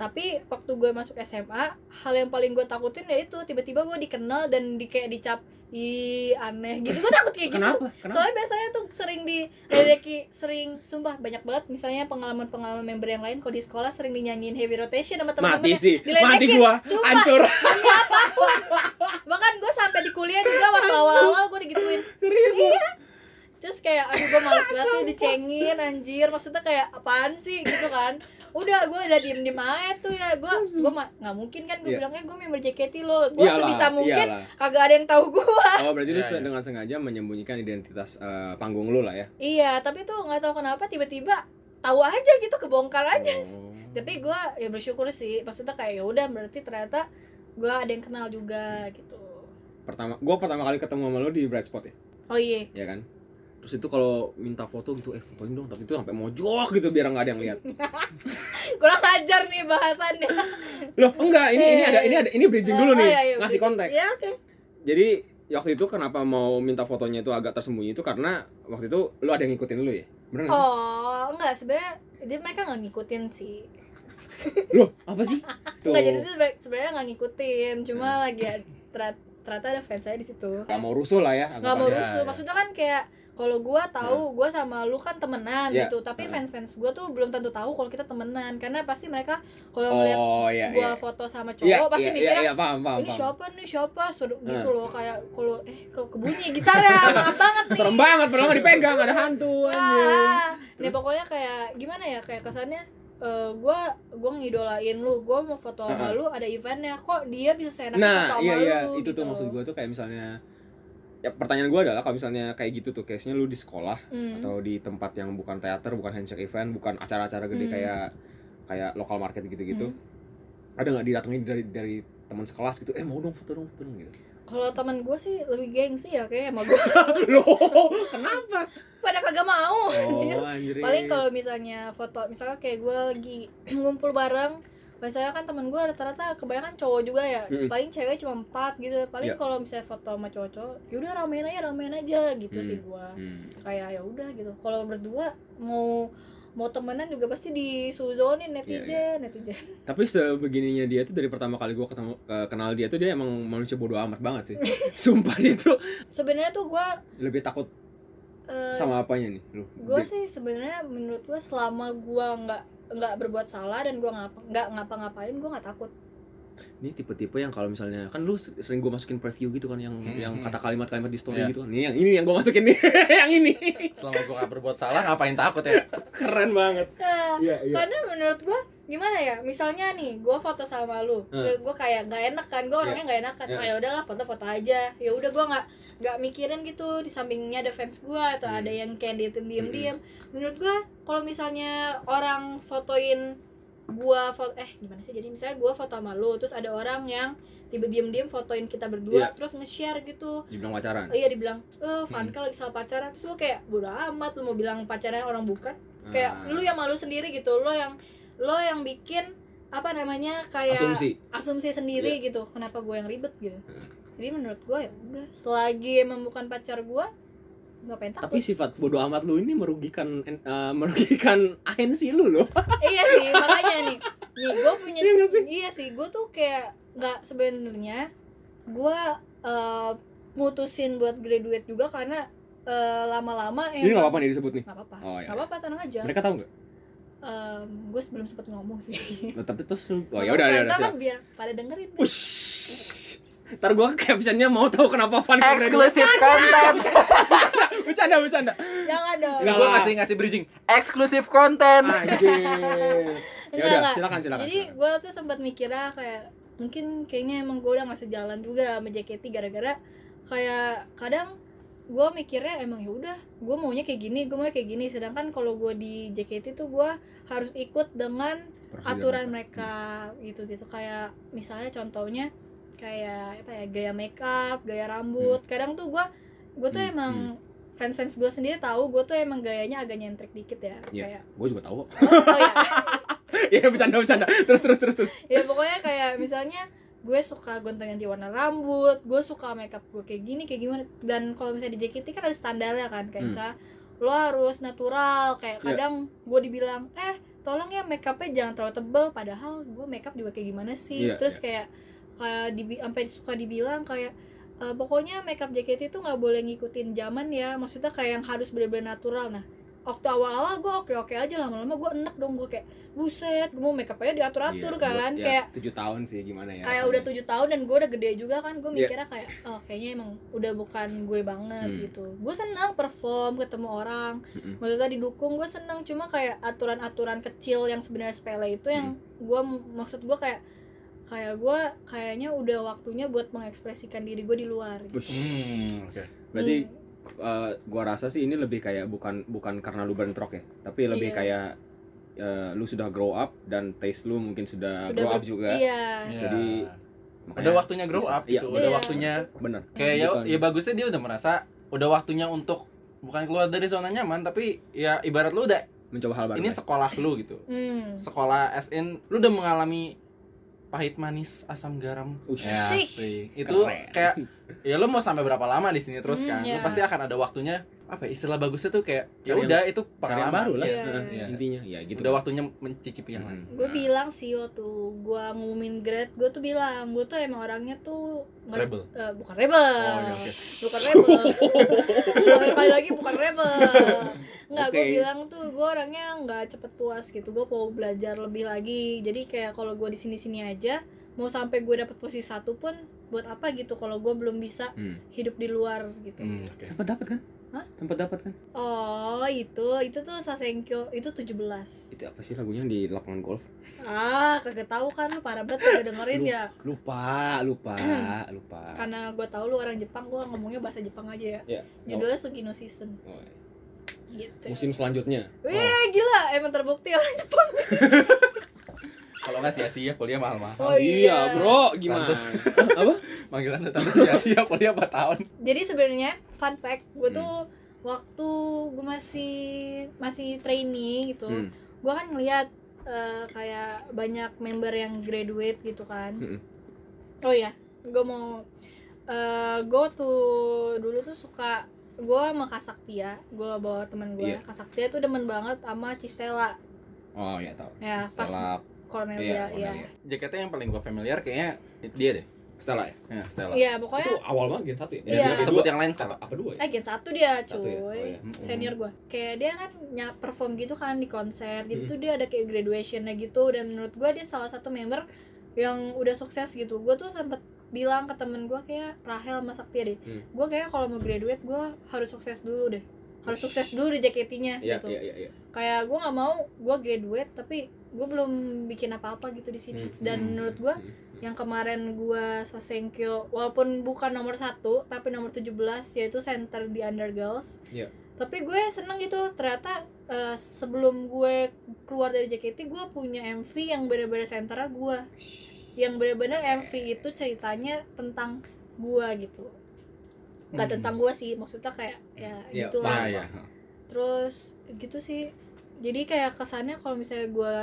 Speaker 3: tapi waktu gue masuk SMA hal yang paling gue takutin ya itu tiba-tiba gue dikenal dan di kayak dicap i aneh gitu gue takut kayak gitu
Speaker 1: kenapa kenapa
Speaker 3: soalnya biasanya tuh sering di ledeki sering sumpah banyak banget misalnya pengalaman pengalaman member yang lain kalau di sekolah sering dinyanyiin heavy rotation sama
Speaker 1: mati
Speaker 3: teman-teman
Speaker 1: sih
Speaker 3: diledekin.
Speaker 1: mati gua
Speaker 3: Sumpah.
Speaker 1: hancur
Speaker 3: bahkan gue sampai di kuliah juga waktu awal-awal gue digituin
Speaker 1: serius lu?
Speaker 3: terus kayak aduh gue males banget nih dicengin anjir maksudnya kayak apaan sih gitu kan udah gue udah diem diem aja tuh ya gue gue ma- nggak mungkin kan gue
Speaker 1: Iya.
Speaker 3: bilangnya gue member JKT lo gue
Speaker 1: Iyalah, iya.
Speaker 3: sebisa mungkin
Speaker 1: iyalah.
Speaker 3: kagak ada yang tahu gue
Speaker 1: oh berarti lu
Speaker 2: Iya, iya.
Speaker 1: dengan sengaja menyembunyikan identitas eh, panggung lu lah ya
Speaker 3: iya tapi tuh nggak tahu kenapa tiba-tiba tahu aja gitu kebongkar aja
Speaker 1: Oh.
Speaker 3: tapi gue ya bersyukur sih maksudnya kayak ya udah berarti ternyata gue ada yang kenal juga gitu
Speaker 1: pertama gua pertama kali ketemu sama lu di bright spot ya
Speaker 3: oh iya
Speaker 1: ya kan terus itu kalau minta foto gitu eh fotoin dong tapi itu sampai mojok gitu biar nggak ada yang lihat
Speaker 3: kurang ajar nih bahasannya
Speaker 1: loh enggak ini ini ada ini ada ini bridging dulu
Speaker 3: Oh,
Speaker 1: nih
Speaker 3: iya, iya,
Speaker 1: ngasih kontak
Speaker 3: ya oke
Speaker 1: jadi ya waktu itu kenapa mau minta fotonya itu agak tersembunyi itu karena waktu itu lu ada yang ngikutin lu ya bener nggak sih?
Speaker 3: Oh, enggak sebenarnya dia mereka nggak ngikutin sih.
Speaker 1: loh apa sih tuh
Speaker 3: Enggak jadi itu sebenarnya- sebenarnya nggak ngikutin, cuma lagi ad- terat- ternyata ada fans saya di
Speaker 1: Hmm.
Speaker 3: situ.
Speaker 1: nggak mau rusuh lah ya
Speaker 3: Nggak mau
Speaker 1: anggapannya.
Speaker 2: Ya,
Speaker 3: rusuh.
Speaker 2: ya.
Speaker 3: Maksudnya kan kayak kalau gua tahu gua sama lu kan temenan
Speaker 1: Hmm. Ya.
Speaker 3: gitu, tapi
Speaker 1: Heeh.
Speaker 3: fans-fans gua tuh belum tentu tahu kalau kita temenan karena pasti mereka kalau ngeliat
Speaker 1: oh iya
Speaker 3: gua
Speaker 1: iya
Speaker 3: foto sama cowok
Speaker 1: Iya,
Speaker 3: pasti
Speaker 1: iya,
Speaker 3: mikirnya
Speaker 1: iya, iya, paham, paham, Hmm.
Speaker 3: ini
Speaker 1: paham.
Speaker 3: siapa nih siapa Suruh- gitu loh kayak kalau eh kok kebunyi gitar ya maaf banget nih
Speaker 1: Serem banget, padahal nggak dipegang, ada
Speaker 3: Ah.
Speaker 1: hantu anjing.
Speaker 3: Wah, Iya. nih
Speaker 1: Terus?
Speaker 3: pokoknya kayak gimana ya kayak kesannya eh gue gue ngidolain lu, gue mau foto sama lu ada eventnya kok dia bisa seenaknya
Speaker 1: Nah,
Speaker 3: foto sama
Speaker 1: iya iya,
Speaker 3: lu,
Speaker 1: itu tuh
Speaker 3: gitu.
Speaker 1: maksud gua tuh kayak misalnya ya pertanyaan gua adalah kalau misalnya kayak gitu tuh case-nya lu di sekolah
Speaker 3: Hmm.
Speaker 1: atau di tempat yang bukan teater, bukan handshake event, bukan acara-acara gede
Speaker 3: Hmm.
Speaker 1: kayak kayak lokal market gitu-gitu.
Speaker 3: Hmm.
Speaker 1: Ada nggak didatengin dari dari teman sekelas gitu? Eh mau dong foto dong foto dong gitu.
Speaker 3: Kalau teman gue sih lebih gengsi ya kayaknya sama gue.
Speaker 1: Loh, kenapa?
Speaker 3: Pada kagak mau. anjir.
Speaker 1: Oh, anjir.
Speaker 3: Paling kalau misalnya foto, misalnya kayak gue lagi ngumpul bareng, biasanya kan temen gue rata-rata kebanyakan cowok juga ya.
Speaker 1: Mm-mm.
Speaker 3: Paling cewek cuma empat gitu. Paling
Speaker 1: Hmm. Iya.
Speaker 3: kalau misalnya foto sama cowok-cowok, yaudah ramein aja, ramein aja gitu
Speaker 1: Hmm.
Speaker 3: sih gue.
Speaker 1: Hmm.
Speaker 3: kayak ya udah gitu kalau berdua mau mau temenan juga pasti disuzonin
Speaker 1: Iya,
Speaker 3: netizen netizen
Speaker 1: Tapi sebegininya dia tuh dari pertama kali gua ketemu ke- kenal dia tuh dia emang manusia bodoh amat banget sih. Sumpah dia tuh
Speaker 3: sebenarnya tuh gue
Speaker 1: lebih takut sama apanya nih lu?
Speaker 3: gue
Speaker 1: Dia-
Speaker 3: sih sebenarnya menurut gue selama gue nggak nggak berbuat salah dan gue ngapa nggak ngapa-ngapain gue nggak takut
Speaker 1: Ini tipe-tipe yang kalau misalnya kan lu sering gua masukin preview gitu kan yang
Speaker 2: Hmm,
Speaker 1: yang
Speaker 2: hmm.
Speaker 1: kata kalimat-kalimat di story
Speaker 2: Iya.
Speaker 1: gitu kan. Ini yang ini yang gua masukin nih. yang ini.
Speaker 2: Selama gua gak berbuat salah ngapain takut ya?
Speaker 1: Keren banget.
Speaker 3: Nah,
Speaker 1: Iya,
Speaker 3: karena menurut gue gimana ya misalnya nih gue foto sama lu
Speaker 1: Hmm.
Speaker 3: gue kayak nggak enak kan gue orangnya nggak enakan
Speaker 1: Iya.
Speaker 3: ah ya udahlah foto-foto aja ya udah gue nggak nggak mikirin gitu di sampingnya ada fans gue atau
Speaker 1: Hmm.
Speaker 3: ada yang kayak dietin diem diem menurut gue kalau misalnya orang fotoin gua foto eh gimana sih jadi misalnya gua foto sama lu terus ada orang yang tiba diam-diam fotoin kita
Speaker 1: Iya.
Speaker 3: berdua terus nge-share gitu
Speaker 1: dibilang pacaran
Speaker 3: iya dibilang eh Van
Speaker 2: Hmm.
Speaker 3: kalau lagi sama pacaran terus gua kayak bodo amat lu mau bilang pacaran orang bukan iya, kayak
Speaker 1: Ah,
Speaker 3: lu yang malu sendiri gitu lo yang lo yang bikin apa namanya kayak
Speaker 1: asumsi Iya. Hmm.
Speaker 3: asumsi sendiri gitu kenapa gue yang ribet gitu jadi menurut gue ya udah selagi emang bukan pacar gue nggak pengen
Speaker 1: tapi
Speaker 3: takut
Speaker 1: sifat bodoh amat lu ini merugikan eh, merugikan ahensi lu loh
Speaker 3: iya sih makanya nih nih gue punya
Speaker 1: Iya nggak sih?
Speaker 3: iya sih gue tuh kayak nggak sebenarnya gue eh, mutusin buat graduate juga karena eh, lama-lama
Speaker 1: ini nggak
Speaker 3: emang
Speaker 1: apa-apa nih disebut nih
Speaker 3: nggak apa-apa
Speaker 1: Oh, iya.
Speaker 3: nggak apa-apa tenang aja
Speaker 1: mereka tahu nggak
Speaker 3: gue sebelum sempet ngomong sih
Speaker 1: Loh, tapi terus lu- oh
Speaker 3: Nggak
Speaker 1: ya udah
Speaker 3: apa-apa,
Speaker 1: ya udah
Speaker 3: ntar kan
Speaker 1: siap.
Speaker 3: biar pada dengerin
Speaker 1: Wush. ntar gua captionnya mau tahu kenapa fan
Speaker 2: Eksklusif konten.
Speaker 1: bercanda bercanda
Speaker 3: jangan dong
Speaker 1: Nggak
Speaker 2: Gua
Speaker 1: lah.
Speaker 2: kasih ngasih bridging. Eksklusif konten.
Speaker 1: anjir ya
Speaker 3: Enggak,
Speaker 1: udah
Speaker 3: enggak.
Speaker 1: silakan silakan
Speaker 3: Jadi gue tuh sempat mikirnya kayak mungkin kayaknya emang gue udah gak sejalan juga sama JKT gara-gara kayak kadang gue mikirnya emang ya udah gue maunya kayak gini gue maunya kayak gini sedangkan kalau gue di JKT tuh gue harus ikut dengan
Speaker 1: Prosedur
Speaker 3: aturan mereka gitu gitu kayak misalnya contohnya kayak apa ya gaya makeup gaya rambut kadang tuh gue gue tuh
Speaker 1: Hmm,
Speaker 3: emang fans fans gue sendiri tahu gue tuh emang gayanya agak nyentrik dikit ya
Speaker 1: Iya.
Speaker 3: kayak
Speaker 1: gua juga tahu
Speaker 3: oh, oh ya
Speaker 1: ya bercanda bercanda terus terus terus terus
Speaker 3: ya pokoknya kayak misalnya gue suka gonta-ganti warna rambut gue suka makeup gue kayak gini kayak gimana dan kalau misalnya di JKT kan ada standarnya kan
Speaker 1: Hmm.
Speaker 3: kayak misalnya lo harus natural
Speaker 1: Iya.
Speaker 3: kayak kadang gue dibilang eh tolong ya makeupnya jangan terlalu tebel padahal gue makeup juga kayak gimana sih
Speaker 1: Iya,
Speaker 3: terus kayak kayak dibi- sampai suka dibilang kayak "Eh, pokoknya makeup JKT itu nggak boleh ngikutin zaman ya maksudnya kayak yang harus bener-bener natural nah waktu awal-awal gue oke-oke aja lama-lama gue enek dong gue kayak buset gue mau makeup aja diatur-atur
Speaker 1: Iya, gua-
Speaker 3: kan
Speaker 1: ya,
Speaker 3: kayak
Speaker 1: tujuh tahun sih gimana ya
Speaker 3: kayak
Speaker 1: rasanya.
Speaker 3: udah tujuh tahun dan gue udah gede juga kan gue
Speaker 1: Iya.
Speaker 3: mikirnya kayak oh kayaknya emang udah bukan gue banget
Speaker 1: Hmm.
Speaker 3: gitu gue senang perform ketemu orang
Speaker 1: Mm-mm.
Speaker 3: maksudnya didukung gue senang cuma kayak aturan-aturan kecil yang sebenarnya sepele
Speaker 1: Hmm.
Speaker 3: itu yang gue maksud gue kayak kayak gue kayaknya udah waktunya buat mengekspresikan diri gue di luar gitu.
Speaker 1: Wush.
Speaker 2: Hmm, oke.
Speaker 1: berarti
Speaker 3: Hmm.
Speaker 1: eh, gua rasa sih ini lebih kayak bukan bukan karena lu bentrok ya tapi lebih
Speaker 3: Iya.
Speaker 1: kayak eh, lu sudah grow up dan taste lu mungkin sudah,
Speaker 3: Sudah
Speaker 1: grow up
Speaker 3: ber-
Speaker 1: juga
Speaker 3: iya
Speaker 1: Jadi- Makanya-
Speaker 2: udah waktunya grow
Speaker 1: bisa.
Speaker 2: up gitu.
Speaker 1: Iya. Gitu.
Speaker 2: Udah
Speaker 3: Iya.
Speaker 2: waktunya
Speaker 1: bener
Speaker 2: kayak ya,
Speaker 1: Bukan.
Speaker 2: ya bagusnya dia udah merasa udah waktunya untuk bukan keluar dari zona nyaman tapi ya ibarat lu udah
Speaker 1: mencoba hal baru
Speaker 2: ini sekolah lu gitu.
Speaker 3: hmm.
Speaker 2: Sekolah as in lu udah mengalami pahit manis asam garam
Speaker 1: Ush.
Speaker 3: Sih.
Speaker 2: sih. itu
Speaker 1: Ya, Keren.
Speaker 2: kayak ya lu mau sampai berapa lama di sini terus
Speaker 3: Hmm,
Speaker 2: kan lu
Speaker 3: iya.
Speaker 2: pasti akan ada waktunya apa ya, istilah bagusnya tuh kayak ya
Speaker 1: Cari yang-
Speaker 2: udah
Speaker 1: Cari
Speaker 2: itu
Speaker 1: yang
Speaker 2: pengalaman
Speaker 1: baru lah
Speaker 2: Iya.
Speaker 3: Iya.
Speaker 1: Heeh, intinya ya gitu Hmm.
Speaker 2: udah waktunya mencicipi yang lain
Speaker 3: gue bilang sih waktu gue ngumumin grade gue tuh bilang gue tuh emang orangnya tuh nggak-
Speaker 2: rebel
Speaker 3: Eh, bukan rebel
Speaker 2: oh iya oke
Speaker 3: bukan rebel kali lagi bukan rebel nggak gue
Speaker 1: Oke.
Speaker 3: bilang tuh gue orangnya nggak cepet puas gitu gue mau belajar lebih lagi jadi kayak kalau gue di sini sini aja mau sampai gue dapet posisi satu pun buat apa gitu kalau gue belum bisa
Speaker 1: Hmm.
Speaker 3: hidup di luar gitu
Speaker 2: Hmm, oke.
Speaker 1: sempat dapat kan
Speaker 3: Hah?
Speaker 1: sempat dapat kan
Speaker 3: oh itu itu tuh sasenkyo itu 17
Speaker 1: itu apa sih lagunya di lapangan golf
Speaker 3: ah kagak tahu kan lu parah banget kagak dengerin ya
Speaker 1: lupa lupa lupa
Speaker 3: karena gue tahu lu orang Jepang gue ngomongnya bahasa Jepang aja ya
Speaker 1: ya
Speaker 3: judulnya Sugino Season
Speaker 1: oh, oh.
Speaker 3: gitu
Speaker 1: musim oh. selanjutnya
Speaker 3: Wih gila emang terbukti orang
Speaker 2: kalau nggak sia-sia kuliah mahal-mahal
Speaker 3: Oh, iya.
Speaker 1: bro gimana apa
Speaker 2: panggilan tante sia-sia kuliah 4 tahun
Speaker 3: jadi sebenarnya fun fact gue
Speaker 1: Hmm.
Speaker 3: tuh waktu gue masih masih trainee gitu
Speaker 1: Hmm.
Speaker 3: gue kan ngeliat eh, kayak banyak member yang graduate gitu kan
Speaker 1: Mm-mm.
Speaker 3: oh ya gue mau gue tuh dulu tuh suka gue sama Kasaktia gue bawa teman gue
Speaker 1: Iya.
Speaker 3: Kasaktia tuh demen banget sama Cistela
Speaker 1: oh ya tahu
Speaker 3: ya pas
Speaker 1: Salap. Iya,
Speaker 3: Cornelia ya
Speaker 1: Cornelia.
Speaker 2: JKT yang paling gua familiar kayaknya dia deh
Speaker 1: Stella ya
Speaker 2: ya Stella
Speaker 3: ya pokoknya
Speaker 1: itu awal banget gen satu ya
Speaker 3: Iya.
Speaker 1: Gen
Speaker 2: sebut
Speaker 1: dua.
Speaker 2: yang lain
Speaker 1: apa,
Speaker 2: Stella
Speaker 1: apa dua ya
Speaker 3: eh gen satu dia cuy
Speaker 1: satu ya oh, iya.
Speaker 2: Mm-mm.
Speaker 3: senior gue kayak dia kan nyak perform gitu kan di konser
Speaker 1: Hmm.
Speaker 3: gitu tuh dia ada kayak graduationnya gitu dan menurut gue dia salah satu member yang udah sukses gitu gue tuh sempet bilang ke temen gue kayak Rahel sama Saktia deh
Speaker 1: Hmm.
Speaker 3: gue kayak kalau mau graduate gue harus sukses dulu deh harus
Speaker 1: Ush.
Speaker 3: sukses dulu di JKT-nya
Speaker 1: Iya,
Speaker 3: gitu
Speaker 1: iya, iya, iya.
Speaker 3: kayak gue nggak mau gue graduate tapi gue belum bikin apa-apa gitu di sini
Speaker 1: Hmm.
Speaker 3: dan
Speaker 2: Hmm.
Speaker 3: menurut gue
Speaker 1: Hmm.
Speaker 3: yang kemarin gua Sosenkyo walaupun bukan nomor satu tapi nomor 17 yaitu center di Under Girls
Speaker 1: Iya.
Speaker 3: tapi gue seneng gitu ternyata eh, sebelum gue keluar dari JKT gue punya MV yang bener-bener sentra gue yang bener-bener MV itu ceritanya tentang gue gitu nggak tentang gue sih maksudnya kayak ya
Speaker 2: Hmm.
Speaker 1: Iya,
Speaker 2: ya,
Speaker 3: gitu
Speaker 2: nah,
Speaker 3: lah
Speaker 2: ya.
Speaker 3: terus gitu sih jadi kayak kesannya kalau misalnya gue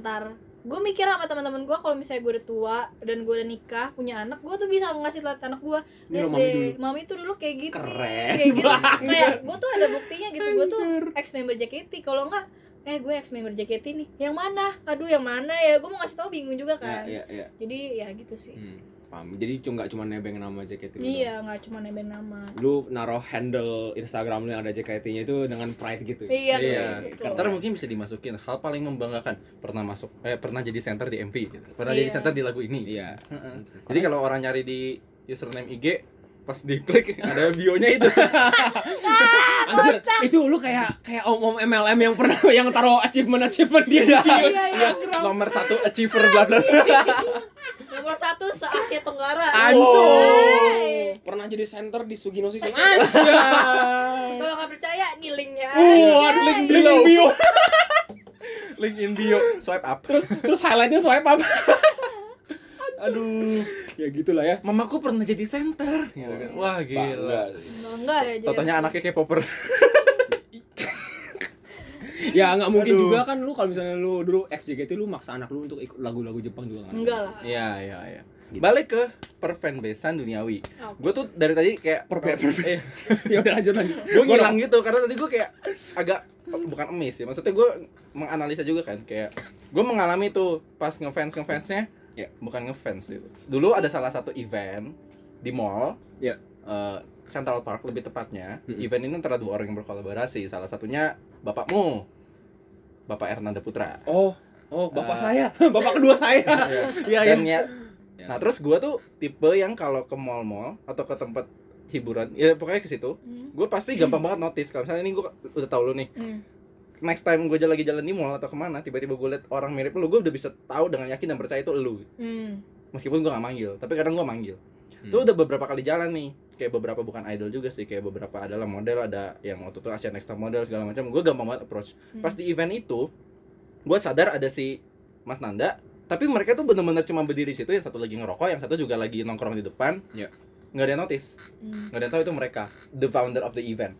Speaker 3: ntar gue mikir sama teman-teman gue kalau misalnya gue udah tua dan gue udah nikah punya anak gue tuh bisa ngasih lihat anak gue
Speaker 1: Ini lo
Speaker 3: lihat
Speaker 1: Iya, mami dulu.
Speaker 3: deh mami tuh dulu kayak gini
Speaker 1: Keren
Speaker 3: kayak gitu
Speaker 1: banget.
Speaker 3: kayak gue tuh ada buktinya gitu gue tuh
Speaker 1: Anjir.
Speaker 3: ex member JKT kalau enggak eh gue ex member JKT nih yang mana aduh yang mana ya gue mau ngasih tau bingung juga
Speaker 1: Ya,
Speaker 3: kan
Speaker 1: ya, ya.
Speaker 3: jadi ya gitu sih
Speaker 1: Hmm, paham. Jadi cuma nggak cuma nebeng nama JKT lu
Speaker 3: iya nggak cuma nebeng nama
Speaker 1: doang. gitu. Lu naruh handle Instagram lu yang ada JKT-nya itu dengan pride gitu.
Speaker 3: iya,
Speaker 2: Iya.
Speaker 3: kayak gitu.
Speaker 2: Ntar mungkin bisa dimasukin hal paling membanggakan pernah masuk eh pernah jadi center di MV gitu. pernah jadi
Speaker 3: Iya.
Speaker 2: center di lagu ini.
Speaker 1: Iya.
Speaker 2: Heeh. Jadi kalau orang nyari di username IG pas diklik ada bio-nya itu.
Speaker 1: Anjir, itu lu kayak kayak om-om MLM yang pernah yang taruh achievement-achievement dia.
Speaker 3: iya iya
Speaker 2: Nomor satu achiever bla bla. bla.
Speaker 3: nomor satu se Asia Tenggara
Speaker 1: Anjir. Pernah jadi center di Sugino Season. Anjir.
Speaker 3: Kalau nggak percaya, ya. nih linknya.
Speaker 1: Wah, link di
Speaker 2: Below.
Speaker 1: bio.
Speaker 2: Link in bio, swipe up.
Speaker 1: Terus terus highlightnya swipe up.
Speaker 2: Aduh,
Speaker 1: ya gitulah ya.
Speaker 2: mamaku pernah jadi center. Gitu kan. Wah, gila.
Speaker 1: Bangga.
Speaker 3: Nah, enggak ya jadi.
Speaker 2: Totonya anaknya K-popper.
Speaker 1: Ya nggak mungkin
Speaker 2: Aduh.
Speaker 1: juga kan lu kalau misalnya lu dulu ex JKT lu maksa anak lu untuk ikut lagu-lagu Jepang juga kan.
Speaker 3: Enggak lah.
Speaker 2: Iya, iya, iya.
Speaker 1: Gitu.
Speaker 2: Balik ke perfanbasean duniawi.
Speaker 3: Oke.
Speaker 2: Gue tuh dari tadi kayak
Speaker 1: Perfe-
Speaker 2: eh,
Speaker 1: ya udah lanjut lanjut.
Speaker 2: gue
Speaker 1: Gua
Speaker 2: ngilang gitu karena tadi gue kayak agak bukan emis ya maksudnya gue menganalisa juga kan kayak gue mengalami tuh pas ngefans ngefansnya
Speaker 1: Ya.
Speaker 2: bukan ngefans gitu dulu ada salah satu event di mall
Speaker 1: Ya.
Speaker 2: eh, Central Park lebih tepatnya
Speaker 1: Mm-mm.
Speaker 2: event ini antara dua orang yang berkolaborasi salah satunya bapakmu bapak Ernanda Putra
Speaker 1: Oh, oh bapak
Speaker 2: Ah.
Speaker 1: saya, bapak kedua saya.
Speaker 2: Iya.
Speaker 1: Iya iya.
Speaker 2: dan ya nah terus gue tuh tipe yang kalau ke mall-mall atau ke tempat hiburan ya pokoknya ke situ
Speaker 3: Hmm.
Speaker 2: gue pasti gampang banget notice kalau misalnya ini gue udah tau lu nih
Speaker 3: Hmm.
Speaker 2: next time gue lagi jalan di mall atau kemana tiba-tiba gue liat orang mirip lu gue udah bisa tahu dengan yakin dan percaya itu lu
Speaker 3: Hmm.
Speaker 2: meskipun gue gak manggil tapi kadang gue manggil
Speaker 1: Hmm.
Speaker 2: tuh udah beberapa kali jalan nih kayak beberapa bukan idol juga sih kayak beberapa adalah model ada yang waktu itu Asian Next Top Model segala macam gue gampang banget approach
Speaker 3: Hmm.
Speaker 2: pas di event itu gue sadar ada si Mas Nanda tapi mereka tuh bener-bener cuma berdiri situ yang satu lagi ngerokok yang satu juga lagi nongkrong di depan
Speaker 1: Iya.
Speaker 2: nggak ada yang notice
Speaker 3: Hmm.
Speaker 2: nggak ada yang tahu itu mereka the founder of the event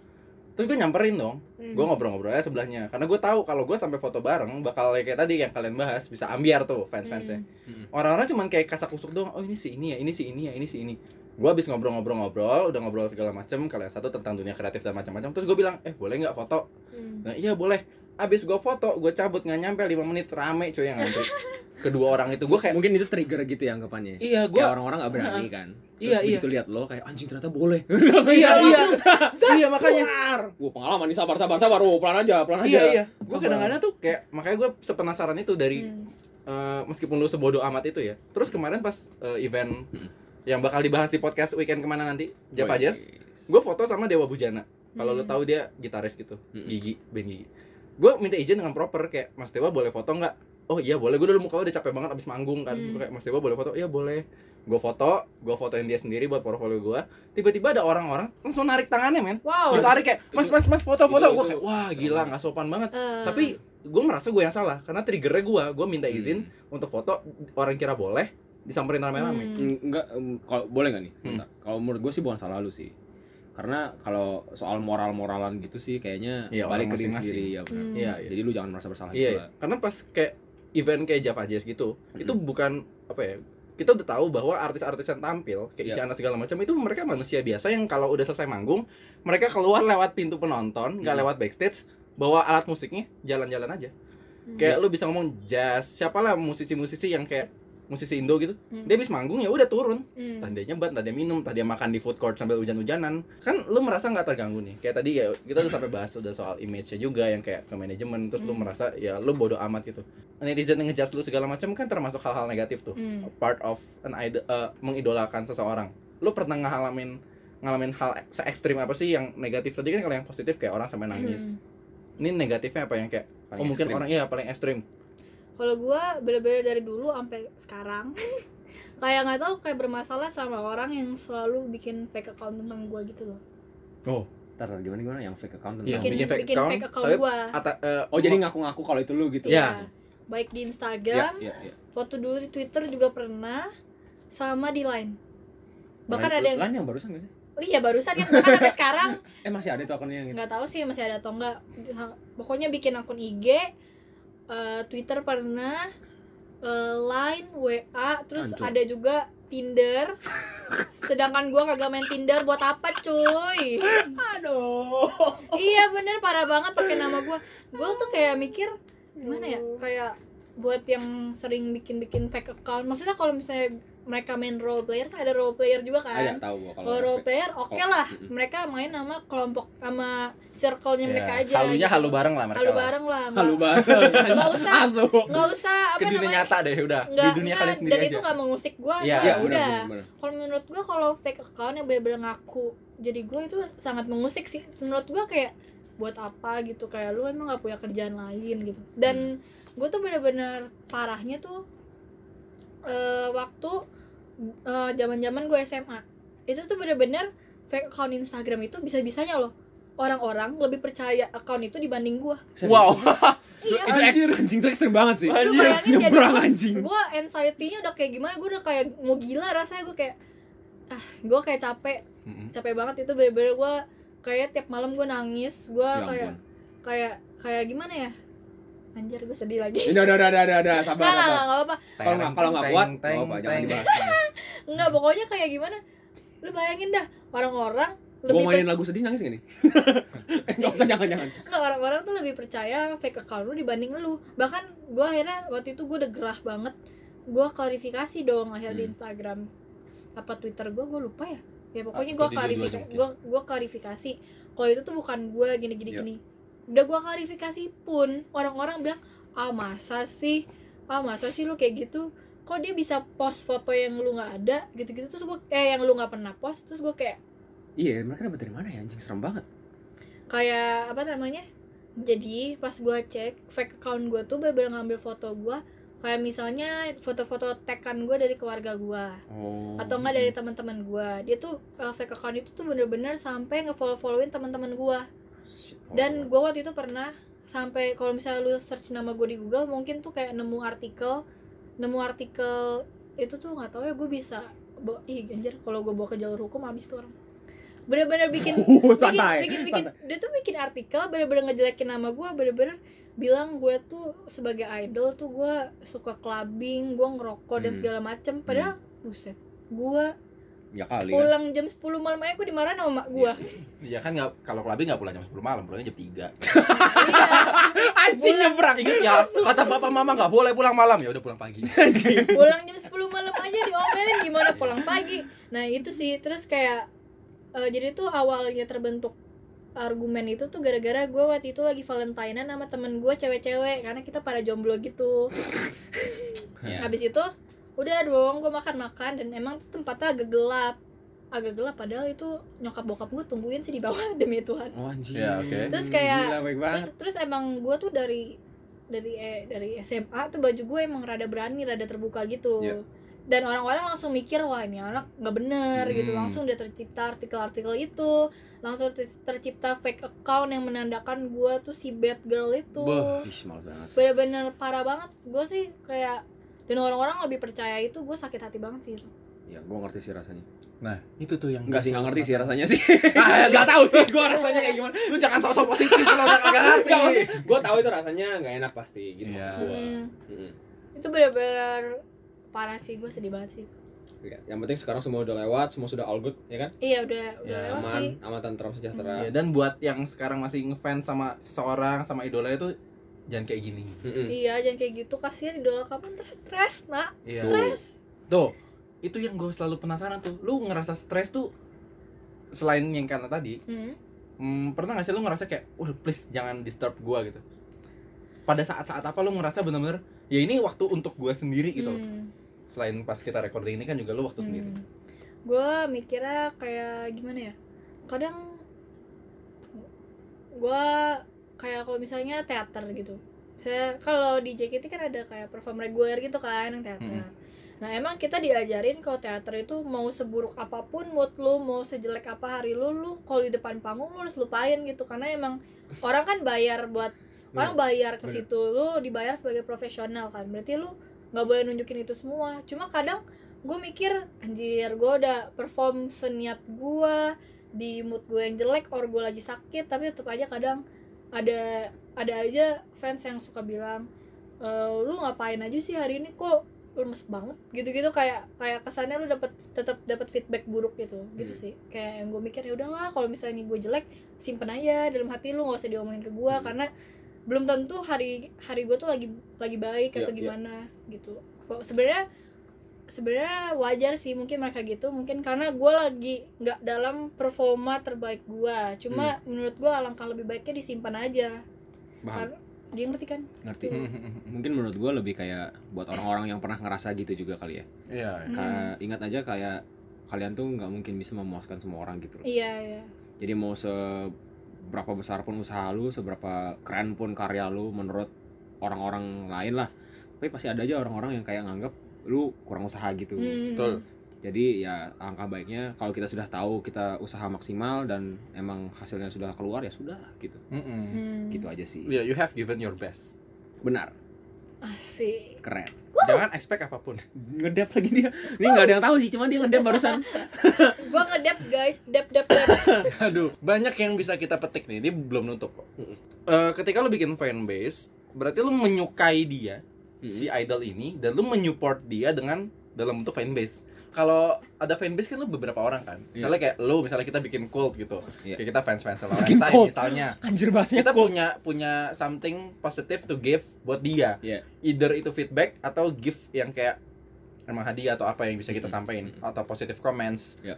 Speaker 2: terus gue nyamperin dong
Speaker 3: Hmm.
Speaker 2: gue ngobrol-ngobrol aja sebelahnya karena gue tahu kalau gue sampai foto bareng bakal kayak tadi yang kalian bahas bisa ambiar tuh
Speaker 3: Hmm.
Speaker 2: fans-fansnya orang-orang cuman kayak kasak kusuk doang oh ini si ini ya ini si ini ya ini si ini gue abis ngobrol-ngobrol-ngobrol udah ngobrol segala macem kalian satu tentang dunia kreatif dan macam-macam terus gue bilang eh boleh nggak foto
Speaker 3: Hmm.
Speaker 2: nah iya boleh abis gue foto gue cabut nggak nyampe 5 menit rame cuy yang ngantri kedua orang itu gue kayak
Speaker 1: Mungkin itu trigger gitu ya anggapannya.
Speaker 2: iya
Speaker 1: Kayak
Speaker 2: gue
Speaker 1: orang-orang gak berani kan.
Speaker 2: Iya, iya.
Speaker 1: begitu lihat lo kayak anjing ternyata boleh. Langsung
Speaker 2: iya
Speaker 1: jalan.
Speaker 2: iya iya makanya
Speaker 1: Keluar. Wah, pengalaman nih sabar sabar sabar. Wah, pelan aja, pelan aja.
Speaker 2: iya iya gue
Speaker 1: Sabar.
Speaker 2: kadang-kadang tuh kayak makanya gue sepenasaran itu dari
Speaker 3: Hmm.
Speaker 2: Eh, meskipun lu sebodoh amat itu ya. Terus kemarin pas eh, event
Speaker 1: Hmm.
Speaker 2: yang bakal dibahas di podcast weekend kemana nanti Java
Speaker 1: Woi.
Speaker 2: Jazz, gue foto sama Dewa Bujana. Kalau lu
Speaker 3: Hmm.
Speaker 2: tahu dia gitaris gitu,
Speaker 1: Mm-mm.
Speaker 2: gigi, band gigi. Gue minta izin dengan proper kayak Mas Dewa boleh foto nggak? Oh iya boleh, gue dulu muka udah capek banget abis manggung kan
Speaker 3: Hmm.
Speaker 2: Gua kayak Mas Dewa boleh foto? Iya boleh Gue foto, gue fotoin dia sendiri buat portfolio gue Tiba-tiba ada orang-orang langsung narik tangannya men
Speaker 3: Wow.
Speaker 2: Gue tarik kayak, mas mas mas foto-foto
Speaker 1: Itu-
Speaker 2: Gue
Speaker 1: itu-
Speaker 2: kayak, wah
Speaker 1: itu-
Speaker 2: gila gak sopan banget
Speaker 3: Eh,
Speaker 2: Tapi gue merasa gue yang salah Karena triggernya gue, gue minta izin untuk foto orang kira boleh disamperin rame-rame.
Speaker 3: hmm.
Speaker 1: Mm, enggak em, kalau boleh nggak nih
Speaker 2: Hmm.
Speaker 1: Bentar. kalau menurut gue sih bukan salah lu sih karena kalau soal moral moralan gitu sih kayaknya
Speaker 2: Iya, orang
Speaker 1: balik ke diri
Speaker 2: masing-masing.
Speaker 1: sendiri ya benar
Speaker 3: Hmm.
Speaker 2: Iya, iya.
Speaker 1: jadi lu jangan merasa bersalah
Speaker 2: Iya,
Speaker 1: gitu
Speaker 2: iya.
Speaker 1: lah.
Speaker 2: karena pas kayak event kayak Java Jazz gitu,
Speaker 1: Mm-mm.
Speaker 2: itu bukan apa ya? Kita udah tahu bahwa artis-artis yang tampil kayak
Speaker 1: Iya.
Speaker 2: Isyana segala macam itu mereka manusia biasa yang kalau udah selesai manggung, mereka keluar lewat pintu penonton, nggak
Speaker 1: Mm.
Speaker 2: lewat backstage, bawa alat musiknya jalan-jalan aja.
Speaker 3: Hmm.
Speaker 2: Kayak lu bisa ngomong jazz, siapalah musisi-musisi yang kayak musisi Indo gitu.
Speaker 3: Hmm.
Speaker 2: Dia habis manggung ya udah turun.
Speaker 3: Hmm.
Speaker 2: entah dia nyebat, entah dia minum, entah dia makan di food court sambil hujan-hujanan kan lu merasa nggak terganggu nih kayak tadi ya kita udah sampai bahas udah soal image-nya juga yang kayak ke manajemen terus lu
Speaker 3: Hmm.
Speaker 2: merasa ya lu bodoh amat gitu netizen yang ngejudge lu segala macam kan termasuk hal-hal negatif tuh
Speaker 3: Hmm.
Speaker 2: part of an idol eh, mengidolakan seseorang lu pernah ngalamin ngalamin hal se ekstrim apa sih yang negatif tadi kan kalau yang positif kayak orang sampai nangis
Speaker 3: Hmm.
Speaker 2: ini negatifnya apa yang kayak
Speaker 1: Paling
Speaker 2: oh mungkin
Speaker 1: ekstrim.
Speaker 2: orang iya paling ekstrim
Speaker 3: Kalau gua bener-bener dari dulu sampai sekarang kayak nggak tahu kayak bermasalah sama orang yang selalu bikin fake account tentang gua gitu loh.
Speaker 2: oh
Speaker 1: teater gimana gimana yang fake account
Speaker 2: Iya,
Speaker 1: tentang
Speaker 3: bikin,
Speaker 2: bikin fake
Speaker 3: bikin
Speaker 2: account,
Speaker 3: fake account
Speaker 2: tapi-
Speaker 3: gua
Speaker 2: Ata, eh,
Speaker 1: oh jadi ngaku-ngaku kalau itu lu gitu
Speaker 2: Iya.
Speaker 3: Iya. baik di
Speaker 1: iya
Speaker 3: Instagram
Speaker 1: iya iya
Speaker 3: waktu dulu di Twitter juga pernah sama di Line bahkan
Speaker 1: Lain-
Speaker 3: ada yang
Speaker 1: lain yang barusan gak sih
Speaker 3: oh iya barusan kan bahkan sampai sekarang
Speaker 1: eh masih ada tuh akunnya yang itu
Speaker 3: nggak tahu sih masih ada atau enggak pokoknya bikin akun IG eh, Twitter pernah eh, Line WA terus
Speaker 1: Hancur.
Speaker 3: ada juga Tinder sedangkan gua kagak main Tinder buat apa cuy
Speaker 1: aduh
Speaker 3: iya bener parah banget pakai nama gua gua tuh kayak mikir gimana ya kayak buat yang sering bikin-bikin fake account maksudnya kalau misalnya mereka main role player kan ada role player juga kan
Speaker 1: ada tahu gua kalau
Speaker 3: kalau role player oke
Speaker 2: oh.
Speaker 3: lah
Speaker 1: Mm-mm.
Speaker 3: mereka main sama kelompok sama circle-nya
Speaker 2: ya,
Speaker 3: mereka aja
Speaker 2: halunya
Speaker 3: gitu.
Speaker 2: halu bareng lah mereka
Speaker 3: halu
Speaker 2: lah.
Speaker 3: bareng lah nggak-
Speaker 1: halu banget
Speaker 3: nggak usah
Speaker 1: asu
Speaker 3: nggak usah apa
Speaker 2: ke dunia
Speaker 3: namanya
Speaker 2: nyata deh udah
Speaker 3: nggak
Speaker 2: di dunia
Speaker 3: nggak,
Speaker 2: kalian sendiri
Speaker 3: dan
Speaker 2: aja
Speaker 3: itu nggak mengusik gua
Speaker 2: Iya,
Speaker 3: nah,
Speaker 1: iya
Speaker 3: udah
Speaker 1: benar benar, benar
Speaker 3: kalau menurut gua kalau fake account yang bener-bener ngaku jadi gua itu sangat mengusik sih menurut gua kayak buat apa gitu kayak lu emang nggak punya kerjaan lain gitu dan
Speaker 1: Hmm.
Speaker 3: gua tuh bener-bener parahnya tuh eh, waktu eh, zaman-zaman gua SMA itu tuh bener-bener fake account Instagram itu bisa-bisanya loh orang-orang lebih percaya account itu dibanding gua
Speaker 2: wow
Speaker 1: itu,
Speaker 3: iya
Speaker 1: itu ek-
Speaker 2: Anjir.
Speaker 1: anjing itu ekstrem banget sih
Speaker 3: lu
Speaker 2: anjir
Speaker 3: bayangin jadi
Speaker 1: nyebrang
Speaker 3: gua-
Speaker 1: anjing Ya
Speaker 3: gue anxiety-nya udah kayak gimana gue udah kayak mau gila rasanya gue kayak ah gue kayak capek
Speaker 2: Mm-mm.
Speaker 3: capek banget itu bener-bener gue kayak tiap malam gue nangis gue
Speaker 1: ya
Speaker 3: kayak
Speaker 1: ampun
Speaker 3: kayak kayak gimana ya anjir gue sedih lagi
Speaker 1: udah udah udah udah udah, udah sabar
Speaker 3: nggak
Speaker 1: sabar
Speaker 3: nggak nggak nggak apa-apa
Speaker 1: Kalau nggak- kalau nggak
Speaker 2: Teng,
Speaker 1: kuat,
Speaker 2: teng,
Speaker 1: nggak apa, jangan
Speaker 2: teng.
Speaker 1: dibahas.
Speaker 3: nggak pokoknya kayak gimana lu bayangin dah orang-orang
Speaker 1: gua
Speaker 3: lebih
Speaker 1: mainin lagu sedih nangis gak nih Eh, nggak usah jangan jangan
Speaker 3: Nggak, Nah, orang-orang tuh lebih percaya fake account lu dibanding lu bahkan gue akhirnya waktu itu gue udah gerah banget gue klarifikasi dong akhirnya di
Speaker 1: Hmm.
Speaker 3: Instagram apa Twitter gue gue lupa ya ya pokoknya
Speaker 2: Ah,
Speaker 3: gue
Speaker 2: itu di dua-dua
Speaker 3: klarifikasi
Speaker 2: mungkin.
Speaker 3: gue gue klarifikasi kalau itu tuh bukan gue gini gini
Speaker 1: Iya.
Speaker 3: gini udah gue klarifikasi pun orang-orang bilang ah masa sih ah masa sih lu kayak gitu kok dia bisa post foto yang lu nggak ada gitu-gitu terus gue eh yang lu nggak pernah post terus gue kayak
Speaker 1: iya mereka dapat dari mana ya anjing serem banget
Speaker 3: kayak apa namanya jadi pas gua cek fake account gua tuh bener-bener ngambil foto gua kayak misalnya foto-foto tekan gua dari keluarga gua
Speaker 1: oh
Speaker 3: atau enggak dari teman-teman gua dia tuh eh, fake account itu tuh bener-bener sampai ngefollow-followin teman-teman gua
Speaker 1: Shit,
Speaker 3: dan gua waktu itu pernah sampai kalau misalnya lu search nama gua di Google mungkin tuh kayak nemu artikel nemu artikel itu tuh nggak tahu ya gua bisa bawa, ih anjir kalau gua bawa ke jalur hukum habis tuh orang bener-bener bikin bikin,
Speaker 1: santai
Speaker 3: bikin, bikin, dia tuh bikin artikel bener-bener ngejelekin nama gue bener-bener bilang gue tuh sebagai idol tuh gue suka clubbing gue ngerokok dan
Speaker 1: Hmm.
Speaker 3: segala macem padahal buset gue
Speaker 1: ya kali kan.
Speaker 3: pulang jam 10 malam aja gue dimarahin sama mak gue
Speaker 2: ya kan nggak kalau kelabi nggak pulang jam 10 malam pulangnya jam 3
Speaker 1: Iya. anjing
Speaker 3: Pulang.
Speaker 1: nyebrang
Speaker 2: Ingat ya, kata papa mama nggak boleh pulang malam ya udah pulang pagi.
Speaker 1: anjing
Speaker 3: Iya, pulang jam 10 malam aja diomelin gimana pulang pagi nah itu sih terus kayak eh, jadi tuh awalnya terbentuk argumen itu tuh gara-gara gue waktu itu lagi valentinean sama temen gue cewek-cewek karena kita para jomblo gitu
Speaker 1: Iya.
Speaker 2: Ya.
Speaker 3: habis itu udah dong gue makan-makan dan emang tuh tempatnya agak gelap agak gelap padahal itu nyokap bokap gue tungguin sih di bawah demi Tuhan
Speaker 1: oh anjing
Speaker 2: Ya, oke.
Speaker 3: Terus kayak-
Speaker 1: Gila, baik banget
Speaker 3: terus terus emang gue tuh dari dari eh, dari SMA tuh baju gue emang rada berani rada terbuka gitu
Speaker 2: Iya.
Speaker 3: dan orang-orang langsung mikir wah ini anak nggak bener gitu
Speaker 2: Hmm.
Speaker 3: langsung dia tercipta artikel-artikel itu langsung ter- tercipta fake account yang menandakan gue tuh si bad girl itu
Speaker 1: Beuh, ih, males banget
Speaker 3: bener-bener parah banget gue sih kayak dan orang-orang lebih percaya itu gue sakit hati banget sih itu
Speaker 1: ya gua ngerti sih rasanya
Speaker 2: Nah, itu tuh yang
Speaker 1: enggak sih nggak ngerti sih rasanya sih
Speaker 2: Ah,
Speaker 1: nggak tahu sih gua rasanya kayak gimana
Speaker 2: Lu jangan sok-sok positif kalau udah kagak
Speaker 1: Nggak,
Speaker 2: ngerti.
Speaker 1: maksudnya gua tahu itu rasanya nggak enak pasti gitu
Speaker 2: Iya.
Speaker 1: maksud gua
Speaker 3: Hmm,
Speaker 1: Mm-mm.
Speaker 3: itu bener-bener parah sih gue sedih banget sih
Speaker 1: Iya, yang penting sekarang semua udah lewat semua sudah all good ya kan
Speaker 3: iya udah udah
Speaker 2: Ya,
Speaker 3: lewat sih Iya.
Speaker 1: aman aman tentram
Speaker 2: Ya,
Speaker 1: sejahtera
Speaker 2: dan buat yang sekarang masih ngefans sama seseorang, sama idolanya tuh jangan kayak gini.
Speaker 1: Mm-mm.
Speaker 3: iya jangan kayak gitu kasihan idola kamu ntar stres nak
Speaker 2: Iya.
Speaker 1: Tuh.
Speaker 3: stres
Speaker 2: Tuh, itu yang gue selalu penasaran tuh. Lu ngerasa stres tuh selain yang karena tadi,
Speaker 3: Hmm.
Speaker 2: hmm, pernah gak sih lu ngerasa kayak, udah please jangan disturb gua gitu. Pada saat-saat apa lu ngerasa bener-bener, ya ini waktu untuk gua sendiri gitu.
Speaker 3: Hmm.
Speaker 2: Selain pas kita recording ini kan juga lu waktu sendiri.
Speaker 3: gue Hmm. mikirnya kayak gimana ya kadang gue kayak kalau misalnya
Speaker 2: Hmm.
Speaker 3: teater gitu saya kalau di JKT kan ada kayak perform reguler gitu kan yang teater Nah emang kita diajarin kalau teater itu mau seburuk apapun mood lu, mau sejelek apa hari lu, lu kalau di depan panggung lu harus lupain gitu karena emang orang kan bayar buat orang bayar ke
Speaker 1: Hmm. bener.
Speaker 3: situ, lu dibayar sebagai profesional kan. Berarti lu nggak boleh nunjukin itu semua. Cuma kadang gue mikir anjir gue udah perform seniat gue di mood gue yang jelek or gue lagi sakit tapi tetap aja kadang ada ada aja fans yang suka bilang e, lu ngapain aja sih hari ini kok lemes banget gitu-gitu kayak kayak kesannya lu dapat tetap dapat feedback buruk gitu gitu
Speaker 1: Hmm.
Speaker 3: sih kayak yang gue mikir ya udahlah kalau misalnya gue jelek simpen aja dalam hati lu nggak usah diomongin ke gue
Speaker 1: Hmm.
Speaker 3: karena belum tentu hari hari gue tuh lagi lagi baik
Speaker 1: Iya,
Speaker 3: atau
Speaker 1: iya.
Speaker 3: gimana gitu Kok sebenarnya sebenarnya wajar sih mungkin mereka gitu mungkin karena gue lagi nggak dalam performa terbaik gue
Speaker 2: Hmm.
Speaker 3: cuma menurut gue alangkah lebih baiknya disimpan aja
Speaker 1: Paham.
Speaker 3: Karena- dia ngerti kan
Speaker 1: ngerti
Speaker 3: Hmm.
Speaker 1: mungkin menurut gue lebih kayak buat orang-orang yang pernah ngerasa gitu juga kali ya
Speaker 2: Iya.
Speaker 3: Hmm.
Speaker 1: Kayak ingat aja kayak kalian tuh nggak mungkin bisa memuaskan semua orang gitu loh
Speaker 3: iya iya
Speaker 1: jadi mau seberapa besar pun usaha lu seberapa keren pun karya lu menurut orang-orang lain lah tapi pasti ada aja orang-orang yang kayak nganggap lu kurang usaha gitu
Speaker 3: Hmm.
Speaker 2: betul.
Speaker 1: jadi ya alangkah baiknya kalau kita sudah tahu kita usaha maksimal dan emang hasilnya sudah keluar ya sudah gitu
Speaker 2: Mm-mm.
Speaker 3: Hmm.
Speaker 1: gitu aja sih
Speaker 2: Iya, you have given your best.
Speaker 1: benar
Speaker 3: asik
Speaker 1: keren
Speaker 2: Jangan expect apapun.
Speaker 1: ngedep lagi dia ini nggak ada yang tahu sih cuma dia ngedep barusan
Speaker 3: gue ngedep guys dep dep dep
Speaker 2: Aduh, banyak yang bisa kita petik nih. Ini belum nutup kok. Eh, ketika lu bikin fanbase, berarti lu menyukai dia, si idol ini, dan lu menyupport dia dengan dalam bentuk fanbase. Kalau ada fanbase kan lu beberapa orang kan.
Speaker 1: Iya.
Speaker 2: Misalnya kayak lu, misalnya kita bikin cult gitu.
Speaker 1: Iya.
Speaker 2: Kayak kita fans-fans sama
Speaker 1: Bikin
Speaker 2: Rancai
Speaker 1: cult.
Speaker 2: misalnya.
Speaker 1: anjir bahasanya
Speaker 2: kita punya punya something positive to give buat dia.
Speaker 1: Iya.
Speaker 2: Either itu feedback atau gift yang kayak emang hadiah atau apa yang bisa kita
Speaker 1: Mm-mm.
Speaker 2: sampaikan
Speaker 1: Mm-mm.
Speaker 2: atau positive comments.
Speaker 1: Iya.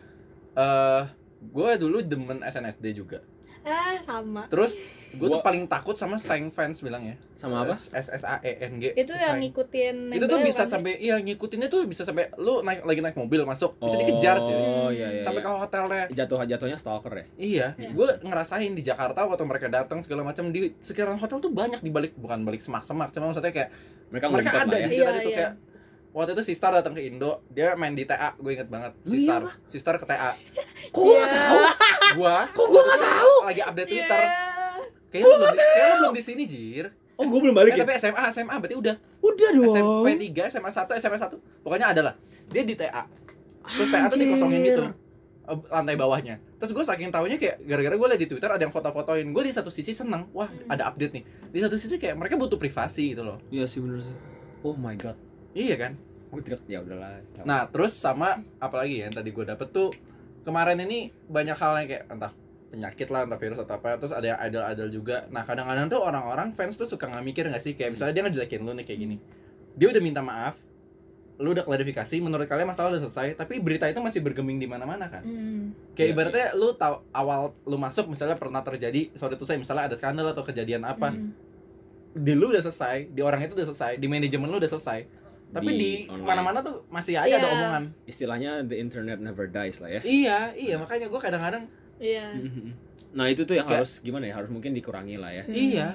Speaker 2: Eh, gue dulu demen SNSD juga.
Speaker 3: ah sama
Speaker 2: Terus gue tuh
Speaker 1: Gua-
Speaker 2: paling takut sama sang fans bilang ya.
Speaker 1: sama apa
Speaker 2: S S A E N G.
Speaker 3: itu yang ngikutin kan ya?
Speaker 2: Itu tuh
Speaker 3: member
Speaker 2: bisa
Speaker 3: bukan sih?
Speaker 2: sampai iya ngikutinnya tuh bisa sampai lu naik lagi naik mobil masuk bisa dikejar cuy.
Speaker 1: oh iya iya
Speaker 2: Sampai
Speaker 1: iya.
Speaker 2: ke hotelnya.
Speaker 1: jatuh jatuhnya stalker ya
Speaker 2: Iya,
Speaker 3: Iya.
Speaker 2: gue ngerasain di Jakarta waktu mereka datang segala macam di sekitaran hotel tuh banyak di balik bukan balik semak-semak, cuma maksudnya kayak
Speaker 1: mereka
Speaker 2: Mereka
Speaker 1: ngumpet
Speaker 2: ada
Speaker 1: lah ya
Speaker 2: di-
Speaker 3: iya
Speaker 2: tadi tuh
Speaker 3: iya
Speaker 2: kayak waktu itu Sistar datang ke Indo, dia main di TA, gue inget banget.
Speaker 1: Lu iya,
Speaker 2: Sistar, Sistar ke TA.
Speaker 1: kok gua nggak
Speaker 3: Iya.
Speaker 1: tahu
Speaker 2: Gua
Speaker 1: kok gua nggak tahu Iya.
Speaker 2: lagi update
Speaker 3: Cie.
Speaker 2: Twitter. Kayaknya lu belum, kayaknya lu belum di sini, Jir.
Speaker 1: oh gua belum balik
Speaker 2: Eh,
Speaker 1: ya
Speaker 2: tapi SMA, SMA berarti udah.
Speaker 1: udah
Speaker 2: SMP 3, SMA 1, SMA 1. Pokoknya ada lah. Dia di TA. Terus TA tuh dikosongin
Speaker 1: Anjir.
Speaker 2: gitu eh, lantai bawahnya. Terus gue saking taunya kayak gara-gara gue liat di Twitter ada yang foto-fotoin. Gue di satu sisi seneng, wah
Speaker 3: Hmm.
Speaker 2: ada update nih. Di satu sisi kayak mereka butuh privasi gitu loh.
Speaker 1: iya sih bener sih oh my god
Speaker 2: Iya kan?
Speaker 1: gua teriak ya udahlah
Speaker 2: Nah, terus sama apalagi ya yang tadi gue dapet tuh kemarin ini banyak hal yang kayak entah penyakit lah entah virus atau apa terus ada yang idol-idol juga nah kadang-kadang tuh orang-orang fans tuh suka nggak mikir nggak sih kayak misalnya dia ngejelekin lu nih kayak gini dia udah minta maaf lu udah klarifikasi menurut kalian masalah udah selesai tapi berita itu masih bergeming di mana-mana kan
Speaker 3: Hmm.
Speaker 2: kayak
Speaker 1: Iya,
Speaker 2: ibaratnya lu tahu awal lu masuk misalnya pernah terjadi sorry tuh saya misalnya ada skandal atau kejadian apa
Speaker 3: Hmm.
Speaker 2: di lu udah selesai di orang itu udah selesai di manajemen lu udah selesai tapi
Speaker 1: Di
Speaker 2: di,
Speaker 1: online.
Speaker 2: mana-mana tuh masih aja ada
Speaker 3: Iya.
Speaker 2: omongan
Speaker 1: istilahnya the internet never dies lah ya
Speaker 2: Iya, iya makanya gue kadang-kadang
Speaker 3: iya
Speaker 1: nah itu tuh yang
Speaker 2: Kayak-
Speaker 1: harus gimana ya harus mungkin dikurangi lah ya
Speaker 3: Hmm.
Speaker 2: iya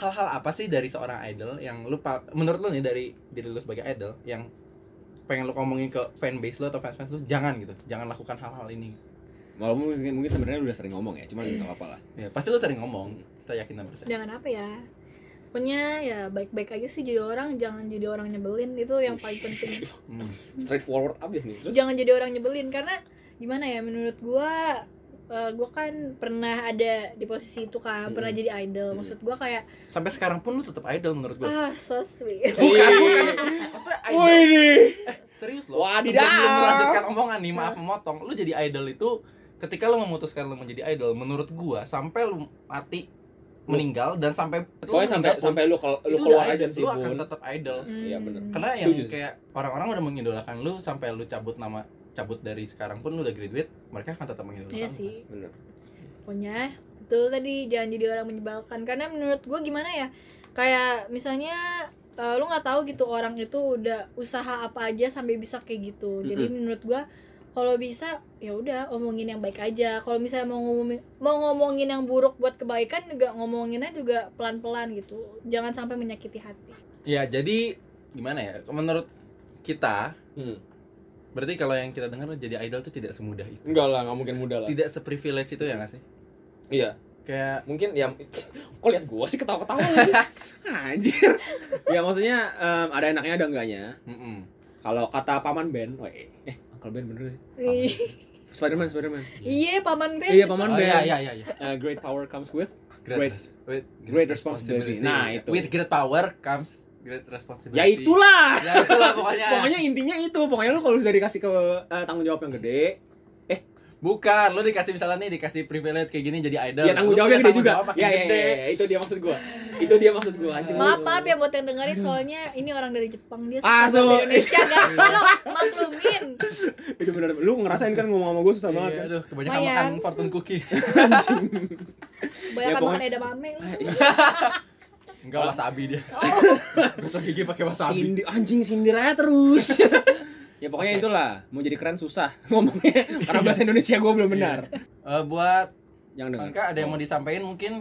Speaker 2: hal-hal apa sih dari seorang idol yang lu pa- menurut lu nih dari diri lu sebagai idol yang pengen lu ngomongin ke fanbase lu atau fans-fans lu jangan gitu, jangan lakukan hal-hal ini.
Speaker 1: walaupun mungkin, mungkin sebenarnya udah sering ngomong ya cuman nggak apa-apa lah
Speaker 2: Ya, pasti lu sering ngomong, kita yakin dan percaya.
Speaker 3: jangan apa ya pokoknya ya baik-baik aja sih jadi orang jangan jadi orang nyebelin itu yang paling penting
Speaker 2: Hmm.
Speaker 1: straightforward abis nih
Speaker 2: Ya,
Speaker 1: terus
Speaker 3: jangan jadi orang nyebelin karena gimana ya menurut gua eh, gua kan pernah ada di posisi itu kan pernah
Speaker 1: Mm.
Speaker 3: jadi
Speaker 1: Mm.
Speaker 3: idol maksud gua kayak
Speaker 2: Sampai sekarang pun lu tetap idol menurut gue.
Speaker 3: ah so sweet
Speaker 2: Bukan, bukan itu. Maksudnya idol. eh, Serius loh.
Speaker 1: Wadidaw.
Speaker 2: Sebelum lu melanjutkan omongan nih, maaf memotong. Lu jadi idol itu ketika lu memutuskan lu menjadi idol menurut gua sampai lu mati meninggal dan sampai lu
Speaker 1: pokoknya sampai
Speaker 2: meninggal pun,
Speaker 1: sampai lu kalau lu
Speaker 2: itu
Speaker 1: keluar
Speaker 2: udah
Speaker 1: aja
Speaker 2: idol.
Speaker 1: sih
Speaker 2: lu akan
Speaker 1: Bun.
Speaker 2: tetap idol.
Speaker 1: Iya, bener.
Speaker 3: Mm.
Speaker 2: Karena yang
Speaker 1: Setuju sih.
Speaker 2: kayak orang-orang udah mengidolakan lu sampai lu cabut nama cabut dari sekarang pun lu udah graduate, mereka akan tetap mengidolakan.
Speaker 3: iya
Speaker 2: lu.
Speaker 3: sih
Speaker 1: Bener.
Speaker 3: pokoknya betul tadi jangan jadi orang menyebalkan karena menurut gua gimana ya kayak misalnya eh, lu nggak tahu gitu orang itu udah usaha apa aja sampai bisa kayak gitu jadi
Speaker 1: Mm-mm.
Speaker 3: menurut gua kalau bisa ya udah omongin yang baik aja kalau misalnya mau ngomongin mau ngomongin yang buruk buat kebaikan juga ngomonginnya juga pelan pelan gitu jangan sampai menyakiti hati
Speaker 2: Ya, jadi gimana ya? Menurut kita
Speaker 1: Hmm.
Speaker 2: berarti kalau yang kita dengar jadi idol tuh tidak semudah itu
Speaker 1: Enggak lah, nggak mungkin muda lah.
Speaker 2: tidak seprivilege itu ya nggak sih
Speaker 1: Iya,
Speaker 2: kayak
Speaker 1: mungkin ya kok lihat gua sih ketawa-ketawa lu? Anjir. ya maksudnya em, ada enaknya ada enggaknya.
Speaker 2: mm
Speaker 1: Kalau kata paman Ben, weh, eh Uncle Ben bener gak sih? Spiderman, Spiderman.
Speaker 3: Iya, paman Ben.
Speaker 1: Iya, Paman
Speaker 2: oh,
Speaker 1: Ben.
Speaker 2: iya iya iya iya.
Speaker 1: Eh, great power comes with
Speaker 2: great,
Speaker 1: Great-
Speaker 2: res- with
Speaker 1: great responsibility. Nah, itu.
Speaker 2: with great power comes great responsibility
Speaker 1: Ya itulah.
Speaker 2: ya itulah pokoknya
Speaker 1: Pokoknya intinya itu, pokoknya lu kalau sudah dikasih ke eh, tanggung jawab yang gede,
Speaker 2: bukan lu dikasih misalnya nih dikasih privilege kayak gini jadi idol
Speaker 1: ya tanggung
Speaker 2: Lu
Speaker 1: jawabnya gede
Speaker 2: punya tanggung
Speaker 1: juga.
Speaker 2: jawab makin
Speaker 1: Ya, ya,
Speaker 2: gede.
Speaker 1: ya, ya, itu dia maksud gua. Itu dia maksud gua. Anjing.
Speaker 3: Maaf, maaf ya buat yang dengerin soalnya ini orang dari Jepang
Speaker 1: Ah,
Speaker 3: dia suka bahasa
Speaker 1: so-
Speaker 3: Indonesia guys. Tolong maklumin.
Speaker 1: Itu bener. Lu ngerasain kan ngomong sama gua susah banget.
Speaker 2: Iya,
Speaker 1: kan?
Speaker 2: aduh, kebanyakan
Speaker 3: Lumayan.
Speaker 2: makan fortune cookie.
Speaker 1: Anjing.
Speaker 3: Banyak
Speaker 1: Ya,
Speaker 3: kan makan
Speaker 1: pokoknya-
Speaker 3: edamame lu.
Speaker 2: Enggak wasabi dia.
Speaker 3: Oh,
Speaker 2: Gosok gigi pakai wasabi.
Speaker 1: Sindir, anjing sindir aja terus. ya pokoknya itulah, mau jadi keren susah ngomongnya karena bahasa Indonesia gue belum benar.
Speaker 2: Eh, buat
Speaker 1: Jangan dengar. Oh,
Speaker 2: Angka ada yang mau disampaikan mungkin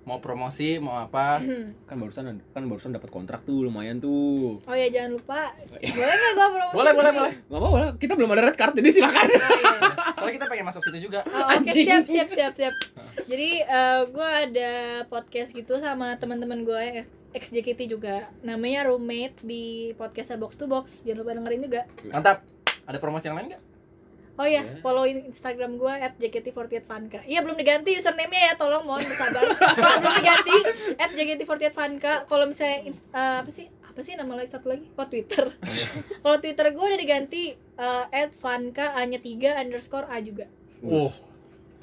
Speaker 2: mau promosi, mau apa?
Speaker 1: kan barusan kan barusan dapat kontrak tuh lumayan tuh.
Speaker 3: oh ya jangan lupa. Boleh nggak gua promosi?
Speaker 2: Boleh, boleh, boleh.
Speaker 1: Gak apa-apa, lah, kita belum ada red card jadi silakan.
Speaker 3: Oh, iya.
Speaker 2: Soalnya kita pengen masuk situ juga.
Speaker 3: Oh, Oke
Speaker 1: Anjing.
Speaker 3: siap siap siap siap. Jadi gue ada podcast gitu sama teman-teman gue yang ex JKT juga. Namanya roommate di podcastnya Box to Box. Jangan lupa dengerin juga.
Speaker 2: Mantap. Ada promosi yang lain nggak?
Speaker 3: Oh ya,
Speaker 1: Ya.
Speaker 3: follow Instagram gue at JKT48Vanka Iya belum diganti username-nya ya, tolong mohon bersabar Kalau belum diganti, at JKT48Vanka Kalau misalnya, inst- eh, apa sih? Apa sih nama lagi satu lagi? Oh Twitter Kalau Twitter gue udah diganti eh, at Vanka A nya 3 underscore A juga
Speaker 2: Wah, Oh,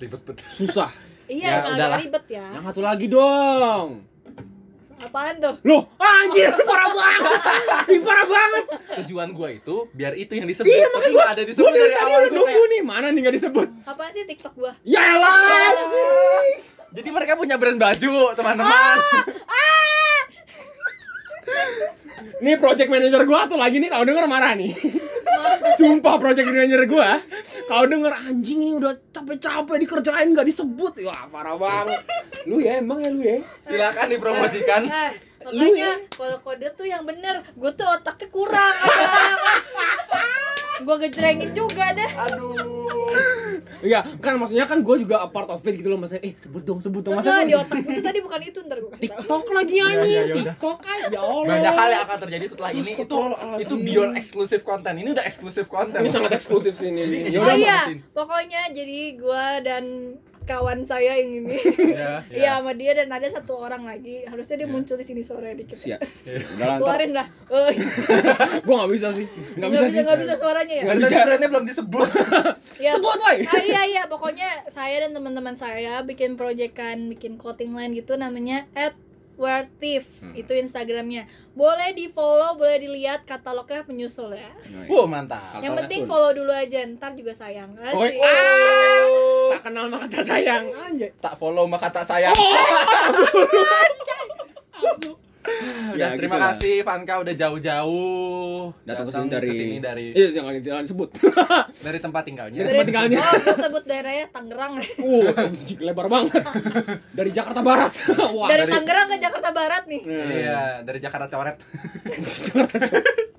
Speaker 2: ribet betul.
Speaker 1: Susah.
Speaker 2: Ya,
Speaker 3: Iya, emang
Speaker 2: udahlah.
Speaker 3: agak ribet ya
Speaker 1: Yang satu lagi dong.
Speaker 3: Apaan tuh?
Speaker 1: Loh, anjir parah banget. Ih, parah banget.
Speaker 2: Tujuan gua itu biar itu yang disebut. Iya, makanya gua ada
Speaker 1: Gue
Speaker 2: disebut
Speaker 1: dari
Speaker 2: dari
Speaker 1: tadi udah
Speaker 2: awal gua
Speaker 1: nunggu
Speaker 2: kayak, Iya,
Speaker 1: nih, mana nih gak disebut.
Speaker 3: Apaan sih TikTok gue?
Speaker 1: Ya elah. anjing.
Speaker 2: Jadi mereka punya brand baju, teman-teman.
Speaker 1: Ah! Nih project manager gua tuh lagi nih kalau denger marah nih. Sumpah project manager gua kalau denger anjing ini udah capek-capek dikerjain nggak disebut. Wah, parah banget. Lu ya emang ya lu ya.
Speaker 2: Silakan dipromosikan.
Speaker 3: Eh,
Speaker 1: Lu ya.
Speaker 3: makanya kalau kode tuh yang bener Gue tuh otaknya kurang ada Gue gejrengin juga deh
Speaker 2: Aduh.
Speaker 1: Iya, kan maksudnya kan gua juga a part of it gitu loh maksudnya. Eh, sebut dong, sebut dong.
Speaker 3: Enggak,
Speaker 1: Masa
Speaker 3: di otak gue tuh tadi bukan itu ntar gue kasih tau
Speaker 1: TikTok lagi
Speaker 2: Ya, ya,
Speaker 1: anjing.
Speaker 2: ya udah.
Speaker 1: TikTok aja Allah.
Speaker 2: Banyak hal yang akan terjadi setelah ini. Itu
Speaker 1: Astagfirullahaladzim.
Speaker 2: itu beyond eksklusif konten. Ini udah eksklusif konten.
Speaker 1: Ini sangat eksklusif sih ini.
Speaker 2: Ya
Speaker 3: Oh
Speaker 1: Yaudah,
Speaker 2: udah,
Speaker 3: iya,
Speaker 2: Mbak Mesin.
Speaker 3: pokoknya jadi gua dan kawan saya yang ini
Speaker 2: Iya.
Speaker 1: Ya.
Speaker 3: Iya sama dia dan ada satu orang lagi Harusnya dia
Speaker 2: Iya.
Speaker 3: muncul di sini sore dikit
Speaker 1: siap.
Speaker 2: Iya.
Speaker 1: ya. Udah lah, ntar.
Speaker 3: Keluarin lah Eh,
Speaker 1: Gua nggak bisa sih. Nggak
Speaker 3: Nggak
Speaker 1: bisa
Speaker 3: bisa,
Speaker 1: sih.
Speaker 3: nggak bisa suaranya ya
Speaker 1: Nggak
Speaker 2: Kan
Speaker 1: bisa.
Speaker 2: tadi brandnya belum disebut.
Speaker 3: Iya.
Speaker 1: Sebut woi.
Speaker 3: Ah, iya iya pokoknya saya dan teman-teman saya bikin proyekan bikin clothing line gitu namanya at
Speaker 1: Hmm.
Speaker 3: itu Instagramnya boleh di follow boleh dilihat katalognya menyusul ya
Speaker 2: Wow, mantap.
Speaker 3: yang
Speaker 1: Katalognya
Speaker 3: penting
Speaker 1: full.
Speaker 3: follow dulu aja ntar juga sayang
Speaker 1: Oke.
Speaker 3: Asik.
Speaker 1: Iya Ah, tak kenal maka tak sayang. Anjay.
Speaker 2: Oh. Tak follow maka tak sayang.
Speaker 1: Oh.
Speaker 2: udah,
Speaker 1: Ya,
Speaker 2: terima
Speaker 1: gitu lah.
Speaker 2: kasih Vanka udah jauh-jauh
Speaker 1: Datang ke sini dari-
Speaker 2: kesini dari
Speaker 1: Iya, jangan jangan sebut.
Speaker 2: dari tempat tinggalnya.
Speaker 1: Dari- tempat tinggalnya.
Speaker 3: Oh, gue sebut daerahnya Tangerang.
Speaker 1: Uh, lebar banget. Dari Jakarta Barat. Wah. Hmm.
Speaker 3: dari
Speaker 2: dari-
Speaker 3: Tangerang ke Jakarta Barat nih.
Speaker 2: Iya, dari Jakarta Coret.
Speaker 1: Jakarta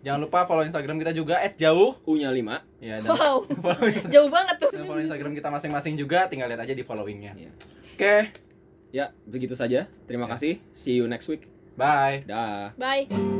Speaker 2: Jangan lupa follow Instagram kita juga @jauh.
Speaker 1: U-nya 5.
Speaker 2: Iya, dan
Speaker 3: Wow,
Speaker 2: follow, Insta-
Speaker 3: jauh banget tuh.
Speaker 2: dan follow Instagram kita masing-masing juga, tinggal lihat aja di followingnya.
Speaker 1: Iya.
Speaker 2: Oke,
Speaker 1: Ya, begitu saja. Terima
Speaker 2: Ya.
Speaker 1: kasih. See you next week.
Speaker 2: bye.
Speaker 1: Dah.
Speaker 3: Bye.